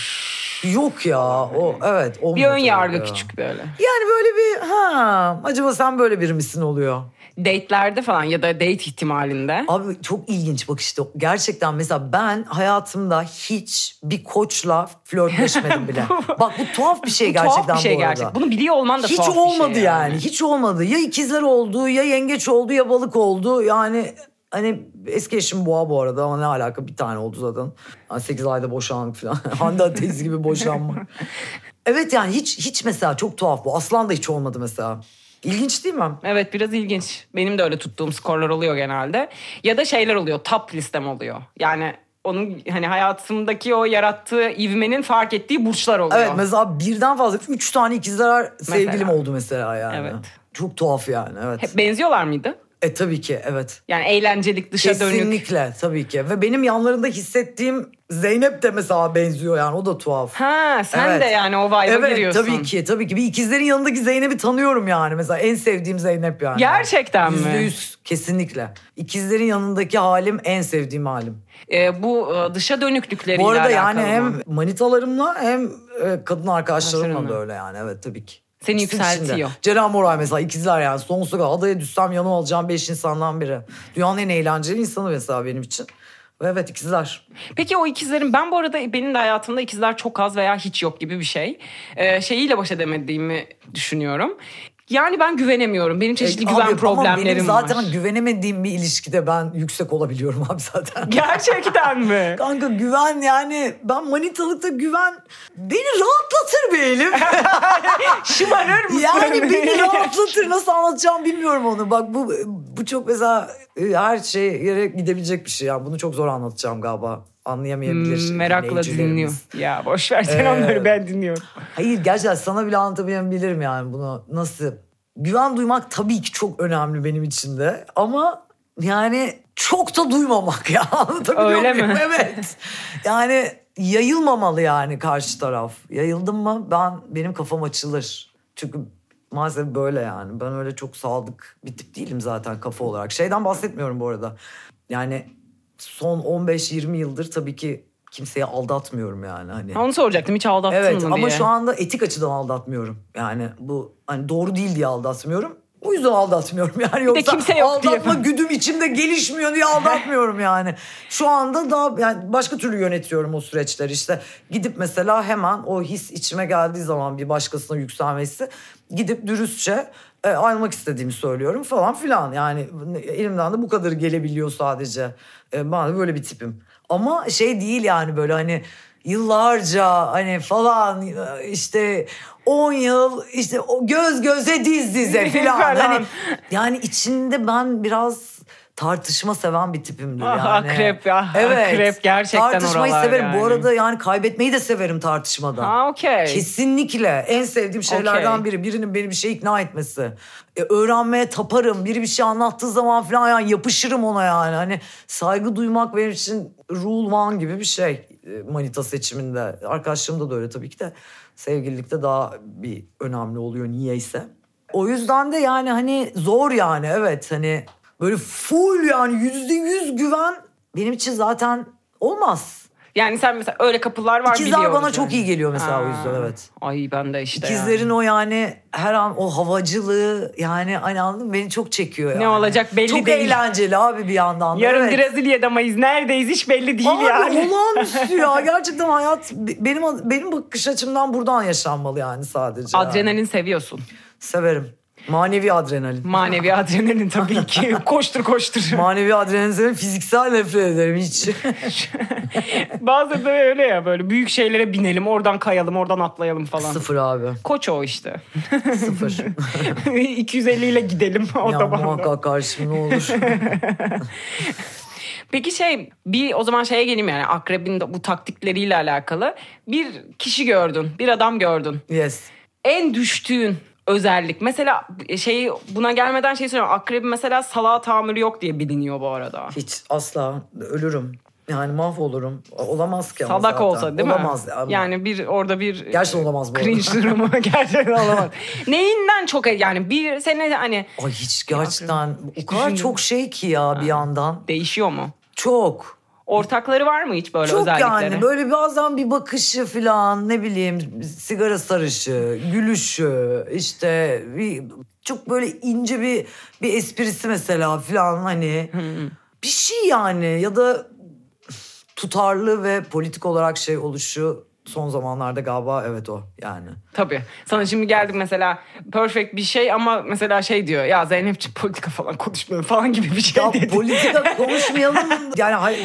[SPEAKER 3] Yok ya o evet.
[SPEAKER 2] Bir
[SPEAKER 3] olmuyor
[SPEAKER 2] ön yargı
[SPEAKER 3] tabii ya.
[SPEAKER 2] küçük böyle.
[SPEAKER 3] Yani böyle bir ha acaba sen böyle biri misin oluyor.
[SPEAKER 2] Date'lerde falan ya da date ihtimalinde.
[SPEAKER 3] Abi çok ilginç bak işte gerçekten mesela ben hayatımda hiç bir koçla flörtleşmedim bile. bak bu tuhaf bir şey
[SPEAKER 2] Bu
[SPEAKER 3] gerçekten
[SPEAKER 2] tuhaf bir şey
[SPEAKER 3] bu arada.
[SPEAKER 2] gerçek. Bunu biliyor olman da
[SPEAKER 3] Hiç
[SPEAKER 2] tuhaf bir şey
[SPEAKER 3] olmadı yani. Hiç olmadı. Ya ikizler oldu, ya yengeç oldu, ya balık oldu. Yani hani eski eşim boğa bu arada ama ne alaka bir tane oldu zaten. 8 ayda boşandık falan. Hande Ateş gibi boşanma. evet yani hiç hiç mesela çok tuhaf bu. Aslan da hiç olmadı mesela. İlginç değil mi?
[SPEAKER 2] Evet biraz ilginç. Benim de öyle tuttuğum skorlar oluyor genelde. Ya da şeyler oluyor. Top listem oluyor. Yani onun hani hayatımdaki o yarattığı ivmenin fark ettiği burçlar oluyor.
[SPEAKER 3] Evet mesela birden fazla üç tane ikizler sevgilim oldu mesela yani.
[SPEAKER 2] Evet.
[SPEAKER 3] Çok tuhaf yani evet.
[SPEAKER 2] Hep benziyorlar mıydı?
[SPEAKER 3] E tabii ki evet.
[SPEAKER 2] Yani eğlencelik, dışa dönük.
[SPEAKER 3] Kesinlikle tabii ki. Ve benim yanlarında hissettiğim Zeynep de mesela benziyor yani o da tuhaf.
[SPEAKER 2] Ha sen
[SPEAKER 3] Evet.
[SPEAKER 2] de yani o vibe'a
[SPEAKER 3] evet
[SPEAKER 2] giriyorsun.
[SPEAKER 3] tabii ki tabii ki. Bir ikizlerin yanındaki Zeynep'i tanıyorum yani mesela en sevdiğim Zeynep yani.
[SPEAKER 2] Gerçekten mi?
[SPEAKER 3] Yüzde yüz kesinlikle. İkizlerin yanındaki halim en sevdiğim halim.
[SPEAKER 2] Ee, bu e, dışa dönüklükleriyle
[SPEAKER 3] Bu arada yani
[SPEAKER 2] alakalı
[SPEAKER 3] hem
[SPEAKER 2] mı?
[SPEAKER 3] manitalarımla hem e, kadın arkadaşlarımla
[SPEAKER 2] Arkadaşlarınla.
[SPEAKER 3] da öyle yani evet tabii ki.
[SPEAKER 2] Seni
[SPEAKER 3] İkisi içinde.
[SPEAKER 2] yükseltiyor.
[SPEAKER 3] Ceren Moray mesela ikizler yani sonsuza kadar adaya düşsem yanıma alacağım beş insandan biri. Dünyanın en eğlenceli insanı mesela benim için. Ve Evet ikizler.
[SPEAKER 2] Peki o ikizlerin ben bu arada benim de hayatımda ikizler çok az veya hiç yok gibi bir şey. Ee, şeyiyle baş edemediğimi düşünüyorum. Yani ben güvenemiyorum. Benim çeşitli
[SPEAKER 3] E,
[SPEAKER 2] güven
[SPEAKER 3] abi ama benim
[SPEAKER 2] problemlerim
[SPEAKER 3] zaten
[SPEAKER 2] var.
[SPEAKER 3] güvenemediğim bir ilişkide ben yüksek olabiliyorum abi zaten.
[SPEAKER 2] Gerçekten mi?
[SPEAKER 3] Kanka güven yani ben manitalıkta güven beni rahatlatır be Elif.
[SPEAKER 2] Şımarır mısın?
[SPEAKER 3] Yani beni rahatlatır nasıl anlatacağım bilmiyorum onu. Bak bu bu çok mesela e, her şey yere gidebilecek bir şey. Yani bunu çok zor anlatacağım galiba. Anlayamayabilir.
[SPEAKER 2] Hmm, Merakla
[SPEAKER 3] dinleyicilerimiz.
[SPEAKER 2] dinliyor. Ya boş ver sen
[SPEAKER 3] Ee,
[SPEAKER 2] onları ben dinliyorum.
[SPEAKER 3] Hayır gerçekten sana bile anlatamayabilirim yani bunu. Nasıl? Güven duymak tabii ki çok önemli benim için de. Ama yani çok da duymamak ya. Anlatabiliyor
[SPEAKER 2] Öyle
[SPEAKER 3] muyum?
[SPEAKER 2] mi?
[SPEAKER 3] Evet. Yani yayılmamalı yani karşı taraf. Yayıldım mı ben benim kafam açılır. Çünkü maalesef böyle yani. Ben öyle çok sadık bir tip değilim zaten kafa olarak. Şeyden bahsetmiyorum bu arada. Yani son 15-20 yıldır tabii ki kimseyi aldatmıyorum yani. Hani
[SPEAKER 2] Ha, Onu soracaktım hiç aldattın
[SPEAKER 3] evet,
[SPEAKER 2] mı diye.
[SPEAKER 3] ama şu anda etik açıdan aldatmıyorum. Yani bu hani doğru değil diye aldatmıyorum. O yüzden aldatmıyorum yani yoksa
[SPEAKER 2] kimse yok diye.
[SPEAKER 3] aldatma güdüm içimde gelişmiyor diye aldatmıyorum yani. Şu anda daha yani başka türlü yönetiyorum o süreçleri işte. Gidip mesela hemen o his içime geldiği zaman bir başkasına yükselme hissi gidip dürüstçe e, ayrılmak istediğimi söylüyorum falan filan. Yani elimden de bu kadar gelebiliyor sadece. E, ben de böyle bir tipim. Ama şey değil yani böyle hani yıllarca hani falan e, işte 10 yıl işte o göz göze diz dize filan.
[SPEAKER 2] Falan.
[SPEAKER 3] hani, yani içinde ben biraz tartışma seven bir tipimdir
[SPEAKER 2] Ah,
[SPEAKER 3] yani.
[SPEAKER 2] akrep ya, akrep gerçekten
[SPEAKER 3] Tartışmayı
[SPEAKER 2] oralar
[SPEAKER 3] severim. Bu
[SPEAKER 2] yani.
[SPEAKER 3] arada yani kaybetmeyi de severim tartışmada.
[SPEAKER 2] Ha okey.
[SPEAKER 3] Kesinlikle en sevdiğim şeylerden
[SPEAKER 2] Okey.
[SPEAKER 3] biri birinin beni bir şey ikna etmesi. E, öğrenmeye taparım. Biri bir şey anlattığı zaman falan yani yapışırım ona yani. Hani saygı duymak benim için rule one gibi bir şey e, manita seçiminde. Arkadaşlarımda da öyle tabii ki de sevgililikte daha bir önemli oluyor niyeyse. O yüzden de yani hani zor yani evet hani böyle full yani yüzde yüz güven benim için zaten olmaz.
[SPEAKER 2] Yani sen mesela öyle kapılar var
[SPEAKER 3] İkizler
[SPEAKER 2] biliyoruz
[SPEAKER 3] bana
[SPEAKER 2] yani.
[SPEAKER 3] çok iyi geliyor mesela o
[SPEAKER 2] Aa.
[SPEAKER 3] yüzden evet.
[SPEAKER 2] Ay ben de işte
[SPEAKER 3] İkizlerin
[SPEAKER 2] yani.
[SPEAKER 3] o yani her an o havacılığı yani hani anladın mı? beni çok çekiyor yani.
[SPEAKER 2] olacak belli
[SPEAKER 3] çok
[SPEAKER 2] değil.
[SPEAKER 3] eğlenceli abi bir yandan. da,
[SPEAKER 2] Yarın
[SPEAKER 3] evet.
[SPEAKER 2] Brezilya'damayız neredeyiz hiç belli değil
[SPEAKER 3] Abi
[SPEAKER 2] yani.
[SPEAKER 3] olağanüstü ya gerçekten hayat be- benim benim bakış açımdan buradan yaşanmalı yani sadece. yani.
[SPEAKER 2] Adrenalin seviyorsun.
[SPEAKER 3] Severim. Manevi adrenalin.
[SPEAKER 2] Manevi adrenalin tabii ki. koştur koştur.
[SPEAKER 3] Manevi adrenalin severim. Fiziksel nefret ederim hiç.
[SPEAKER 2] Bazen de öyle ya böyle büyük şeylere binelim oradan kayalım oradan atlayalım falan.
[SPEAKER 3] Sıfır abi.
[SPEAKER 2] Koç o işte.
[SPEAKER 3] Sıfır.
[SPEAKER 2] 250 ile gidelim o
[SPEAKER 3] ya
[SPEAKER 2] tabanda.
[SPEAKER 3] muhakkak karşım ne olur.
[SPEAKER 2] Peki şey bir o zaman şeye geleyim yani akrebin de bu taktikleriyle alakalı. Bir kişi gördün bir adam gördün.
[SPEAKER 3] Yes.
[SPEAKER 2] en düştüğün özellik. Mesela şey buna gelmeden şey söylüyorum. Akrebi mesela salağa tahammülü yok diye biliniyor bu arada.
[SPEAKER 3] Hiç asla ölürüm. Yani mahvolurum. Olamaz ki ama
[SPEAKER 2] Salak
[SPEAKER 3] zaten.
[SPEAKER 2] olsa değil
[SPEAKER 3] Olamaz
[SPEAKER 2] mi?
[SPEAKER 3] ama.
[SPEAKER 2] Yani bir orada bir e,
[SPEAKER 3] Gerçekten olamaz bu arada.
[SPEAKER 2] cringe durumu gerçekten olamaz. Neyinden çok yani bir sene hani
[SPEAKER 3] Ay hiç gerçekten o kadar
[SPEAKER 2] düşünmedim.
[SPEAKER 3] çok şey ki ya bir yandan.
[SPEAKER 2] değişiyor mu?
[SPEAKER 3] Çok.
[SPEAKER 2] Ortakları var mı hiç böyle
[SPEAKER 3] Çok
[SPEAKER 2] özellikleri?
[SPEAKER 3] yani böyle bazen bir bakışı falan ne bileyim sigara sarışı, gülüşü işte bir, çok böyle ince bir bir esprisi mesela falan hani bir şey yani ya da tutarlı ve politik olarak şey oluşu son zamanlarda galiba evet o yani.
[SPEAKER 2] Tabii. Sana şimdi geldik mesela perfect bir şey ama mesela şey diyor ya Zeynepçi politika falan konuşmuyor falan gibi bir şey
[SPEAKER 3] Ya
[SPEAKER 2] dedi.
[SPEAKER 3] politika konuşmayalım yani hay-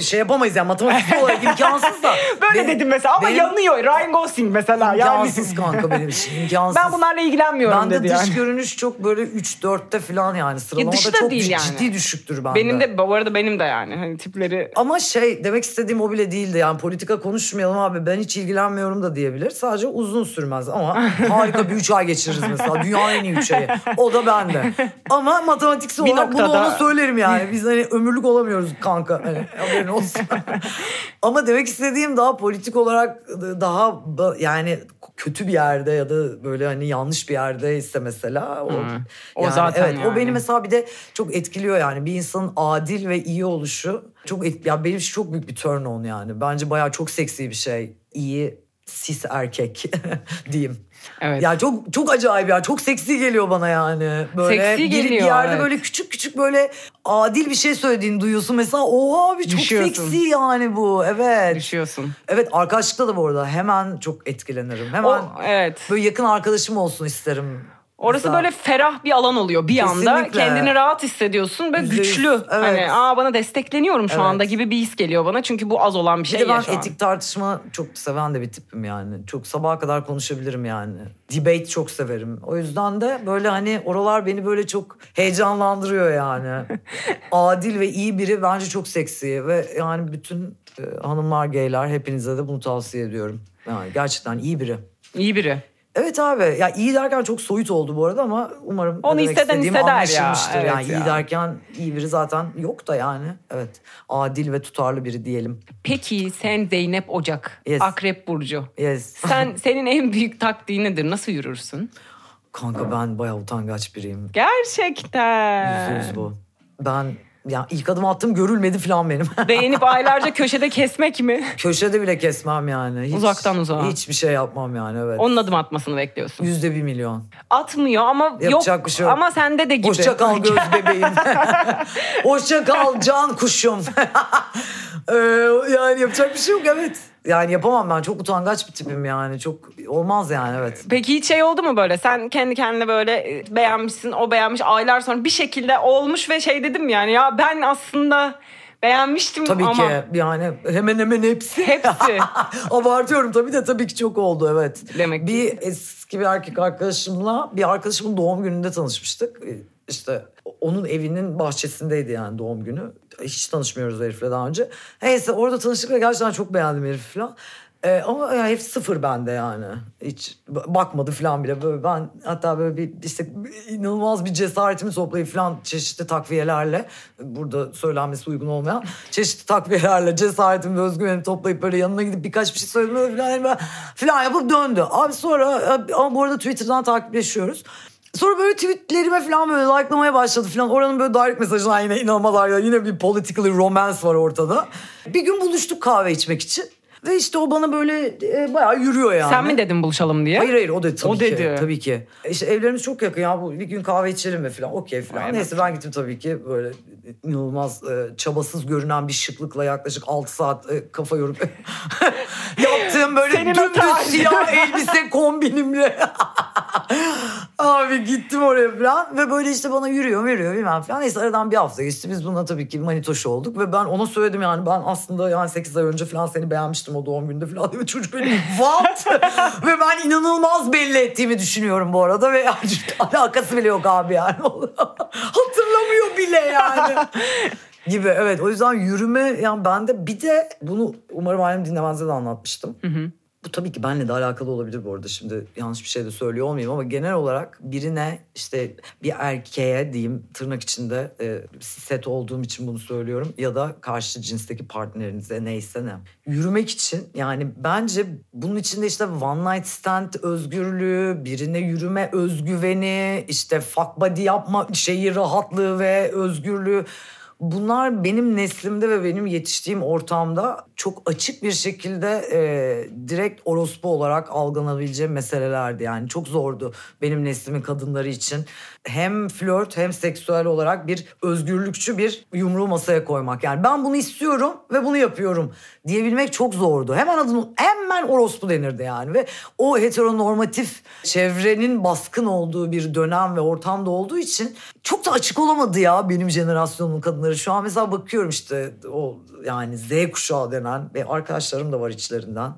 [SPEAKER 3] şey yapamayız yani matematik olarak imkansız da.
[SPEAKER 2] Böyle
[SPEAKER 3] Benim-
[SPEAKER 2] dedim mesela ama
[SPEAKER 3] benim-
[SPEAKER 2] yanıyor. Ryan Gosling mesela. Yani
[SPEAKER 3] İmkansız kanka benim için imkansız.
[SPEAKER 2] ben bunlarla ilgilenmiyorum
[SPEAKER 3] Ben de
[SPEAKER 2] dedi
[SPEAKER 3] dış
[SPEAKER 2] yani.
[SPEAKER 3] görünüş çok böyle 3-4'te falan yani sıralamada
[SPEAKER 2] dışta
[SPEAKER 3] çok
[SPEAKER 2] değil yani.
[SPEAKER 3] ciddi düşüktür bende.
[SPEAKER 2] Benim de bu arada benim de yani hani tipleri
[SPEAKER 3] Ama şey demek istediğim o bile değildi yani politika konuşmayalım abi ben hiç hiç ilgilenmiyorum da diyebilir. Sadece uzun sürmez ama harika bir üç ay geçiririz mesela. Dünyanın en iyi üç ayı. O da bende. Ama matematiksel
[SPEAKER 2] Bir
[SPEAKER 3] olarak bunu
[SPEAKER 2] noktada-
[SPEAKER 3] ona söylerim yani. Biz hani ömürlük olamıyoruz kanka. Hani haberin olsun. ama demek istediğim daha politik olarak daha ba- yani kötü bir yerde ya da böyle hani yanlış bir yerde ise mesela o,
[SPEAKER 2] O zaten
[SPEAKER 3] evet,
[SPEAKER 2] yani.
[SPEAKER 3] o benim mesela bir de çok etkiliyor yani bir insanın adil ve iyi oluşu çok et, ya benim için çok büyük bir turn on yani. Bence bayağı çok seksi bir şey. İyi sis erkek diyeyim.
[SPEAKER 2] Evet.
[SPEAKER 3] Ya çok çok acayip ya. Çok seksi geliyor bana yani. Böyle
[SPEAKER 2] Seksi
[SPEAKER 3] girip bir
[SPEAKER 2] geliyor,
[SPEAKER 3] yerde
[SPEAKER 2] evet.
[SPEAKER 3] böyle küçük küçük böyle adil bir şey söylediğini duyuyorsun mesela. Oha abi çok
[SPEAKER 2] Düşüyorsun.
[SPEAKER 3] seksi yani bu. Evet.
[SPEAKER 2] Düşüyorsun.
[SPEAKER 3] Evet arkadaşlıkta da bu arada hemen çok etkilenirim. Hemen
[SPEAKER 2] O- evet.
[SPEAKER 3] böyle yakın arkadaşım olsun isterim.
[SPEAKER 2] Orası
[SPEAKER 3] Mesela.
[SPEAKER 2] böyle ferah bir alan oluyor bir anda.
[SPEAKER 3] Kesinlikle.
[SPEAKER 2] Kendini rahat hissediyorsun ve
[SPEAKER 3] Yüzde yüz,
[SPEAKER 2] güçlü.
[SPEAKER 3] evet.
[SPEAKER 2] Hani aa bana destekleniyorum şu
[SPEAKER 3] Evet.
[SPEAKER 2] anda gibi bir his geliyor bana. Çünkü bu az olan bir
[SPEAKER 3] Bir
[SPEAKER 2] şey
[SPEAKER 3] de
[SPEAKER 2] ya
[SPEAKER 3] ben
[SPEAKER 2] şu an.
[SPEAKER 3] etik tartışma çok seven de bir tipim yani. Çok sabaha kadar konuşabilirim yani. Debate çok severim. O yüzden de böyle hani oralar beni böyle çok heyecanlandırıyor yani. Adil ve iyi biri bence çok seksi ve yani bütün e, hanımlar, geyler hepinize de bunu tavsiye ediyorum. Yani gerçekten iyi biri.
[SPEAKER 2] İyi biri.
[SPEAKER 3] Evet abi ya iyi derken çok soyut oldu bu arada ama umarım ne
[SPEAKER 2] Onu
[SPEAKER 3] demek
[SPEAKER 2] hisseden
[SPEAKER 3] istediğim
[SPEAKER 2] hisseder ya.
[SPEAKER 3] anlaşılmıştır.
[SPEAKER 2] Evet
[SPEAKER 3] yani
[SPEAKER 2] ya.
[SPEAKER 3] iyi derken iyi biri zaten yok da yani. Evet adil ve tutarlı biri diyelim.
[SPEAKER 2] Peki sen Zeynep Ocak.
[SPEAKER 3] Yes.
[SPEAKER 2] Akrep Burcu.
[SPEAKER 3] Yes.
[SPEAKER 2] Sen senin en büyük taktiği nedir? Nasıl yürürsün?
[SPEAKER 3] Kanka ben bayağı utangaç biriyim.
[SPEAKER 2] Gerçekten.
[SPEAKER 3] Yüzde yüz bu. Ben ya ilk adım attım görülmedi falan benim.
[SPEAKER 2] Beğenip aylarca köşede kesmek mi?
[SPEAKER 3] Köşede bile kesmem yani. Hiç-
[SPEAKER 2] Uzaktan uzağa.
[SPEAKER 3] Hiçbir şey yapmam yani evet.
[SPEAKER 2] Onun adım atmasını bekliyorsun.
[SPEAKER 3] Yüzde bir milyon.
[SPEAKER 2] Atmıyor ama yok.
[SPEAKER 3] Yapacak bir şey yok.
[SPEAKER 2] Ama sende de gibi.
[SPEAKER 3] Hoşça kal göz bebeğim. Hoşça kal can kuşum. Ee, yani yapacak bir şey yok evet. Yani yapamam ben çok utangaç bir tipim yani. Çok olmaz yani evet.
[SPEAKER 2] Peki hiç şey oldu mu böyle? Sen kendi kendine böyle e, beğenmişsin, o beğenmiş. Aylar sonra bir şekilde olmuş ve şey dedim yani ya ben aslında beğenmiştim
[SPEAKER 3] Tabii
[SPEAKER 2] ama
[SPEAKER 3] ki yani hemen hemen hepsi.
[SPEAKER 2] hepsi.
[SPEAKER 3] Abartıyorum tabii de tabii ki çok oldu evet.
[SPEAKER 2] Demek ki.
[SPEAKER 3] Bir eski bir erkek arkadaşımla bir arkadaşımın doğum gününde tanışmıştık. İşte onun evinin bahçesindeydi yani doğum günü. Hiç tanışmıyoruz herifle daha önce. Neyse orada tanıştık ve gerçekten çok beğendim herifi falan. Ee, ama yani hep sıfır bende yani. Hiç b- bakmadı falan bile. Böyle ben hatta böyle bir işte inanılmaz bir cesaretimi toplayıp falan çeşitli takviyelerle burada söylenmesi uygun olmayan çeşitli takviyelerle cesaretimi ve özgüvenimi toplayıp böyle yanına gidip birkaç bir şey söyledim böyle falan, hani böyle falan yapıp döndü. Abi sonra e, ama bu arada Twitter'dan takipleşiyoruz. Sonra böyle tweetlerime falan böyle like'lamaya başladı falan. Oranın böyle direct mesajına yine inanmalar ya. Yine bir politically romance var ortada. Bir gün buluştuk kahve içmek için. Ve işte o bana böyle e, bayağı yürüyor yani.
[SPEAKER 2] Sen mi dedin buluşalım diye?
[SPEAKER 3] Hayır hayır o dedi tabii
[SPEAKER 2] O
[SPEAKER 3] ki.
[SPEAKER 2] dedi.
[SPEAKER 3] Tabii ki. İşte evlerimiz çok yakın ya bu bir gün kahve içelim mi falan okey falan.
[SPEAKER 2] Aynen.
[SPEAKER 3] Neyse ben gittim tabii ki böyle inanılmaz e, çabasız görünen bir şıklıkla yaklaşık 6 saat e, kafa yorup yaptığım böyle
[SPEAKER 2] Senin
[SPEAKER 3] dümdüz
[SPEAKER 2] hatan.
[SPEAKER 3] siyah elbise kombinimle. Abi gittim oraya falan ve böyle işte bana yürüyor yürüyor bilmem falan. Neyse aradan bir hafta geçti. Biz buna tabii ki manitoş olduk ve ben ona söyledim yani ben aslında yani 8 ay önce falan seni beğenmiştim o doğum gününde falan diye çocuk beni what? ve ben inanılmaz belli ettiğimi düşünüyorum bu arada ve yani alakası bile yok abi yani. Hatırlamıyor bile yani gibi evet o yüzden yürüme yani ben de bir de bunu umarım annem dinlemezse de anlatmıştım. Bu tabii ki benle de alakalı olabilir bu arada şimdi yanlış bir şey de söylüyor olmayayım ama genel olarak birine işte bir erkeğe diyeyim tırnak içinde e, set olduğum için bunu söylüyorum ya da karşı cinsteki partnerinize neyse ne. Yürümek için yani bence bunun içinde işte one night stand özgürlüğü, birine yürüme özgüveni, işte fuck body yapma şeyi rahatlığı ve özgürlüğü Bunlar benim neslimde ve benim yetiştiğim ortamda çok açık bir şekilde e, direkt orospu olarak algılanabileceğim meselelerdi. Yani çok zordu benim neslimin kadınları için. Hem flört hem seksüel olarak bir özgürlükçü bir yumruğu masaya koymak. Yani ben bunu istiyorum ve bunu yapıyorum diyebilmek çok zordu. Hemen adını hemen orospu denirdi yani ve o heteronormatif çevrenin baskın olduğu bir dönem ve ortamda olduğu için çok da açık olamadı ya benim jenerasyonun kadınları. Şu an mesela bakıyorum işte o yani Z kuşağı denen ve arkadaşlarım da var içlerinden.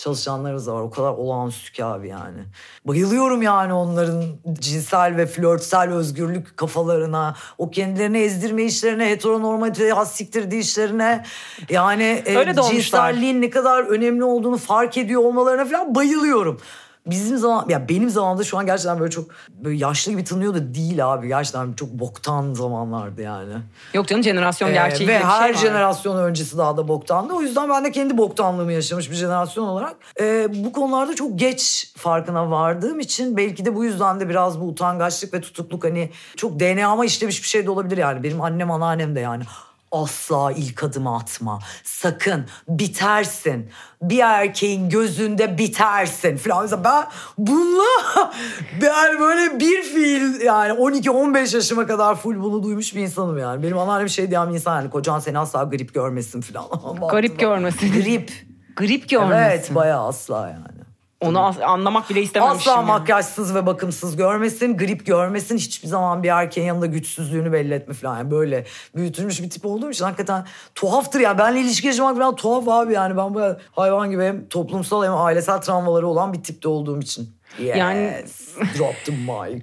[SPEAKER 3] çalışanlarımız da var. O kadar olağanüstü ki abi yani. Bayılıyorum yani onların cinsel ve flörtsel özgürlük kafalarına. O kendilerini ezdirme işlerine, heteronormative has siktirdiği işlerine. Yani e,
[SPEAKER 2] Öyle de olmuşlar.
[SPEAKER 3] cinselliğin ne kadar önemli olduğunu fark ediyor olmalarına falan bayılıyorum. Bizim zaman ya benim zamanımda şu an gerçekten böyle çok böyle yaşlı gibi tanıyor da değil abi. Gerçekten çok boktan zamanlardı yani.
[SPEAKER 2] Yok canım jenerasyon
[SPEAKER 3] Ee,
[SPEAKER 2] gerçeği
[SPEAKER 3] ve
[SPEAKER 2] diye bir şey
[SPEAKER 3] her
[SPEAKER 2] var.
[SPEAKER 3] jenerasyon öncesi daha da boktandı. O yüzden ben de kendi boktanlığımı yaşamış bir jenerasyon olarak ee, bu konularda çok geç farkına vardığım için belki de bu yüzden de biraz bu utangaçlık ve tutukluk hani çok DNA'ma işlemiş bir şey de olabilir yani. Benim annem anneannem de yani asla ilk adımı atma. Sakın bitersin. Bir erkeğin gözünde bitersin falan. Mesela ben bununla yani böyle bir fiil yani 12-15 yaşıma kadar full bunu duymuş bir insanım yani. Benim anneannem şey diyen bir insan yani kocan seni asla grip görmesin falan.
[SPEAKER 2] Garip görmesin.
[SPEAKER 3] Grip.
[SPEAKER 2] Grip görmesin.
[SPEAKER 3] Evet bayağı asla yani.
[SPEAKER 2] Onu as- anlamak bile istememişim.
[SPEAKER 3] Asla
[SPEAKER 2] ya.
[SPEAKER 3] makyajsız ve bakımsız görmesin, grip görmesin, hiçbir zaman bir erkeğin yanında güçsüzlüğünü belli etme falan. Yani böyle büyütülmüş bir tip olduğum için hakikaten tuhaftır ya. Benle ilişki yaşamak falan tuhaf abi yani. Ben böyle hayvan gibi hem toplumsal hem ailesel travmaları olan bir tipte olduğum için. Yes.
[SPEAKER 2] Yani-
[SPEAKER 3] Yani... Drop the mic.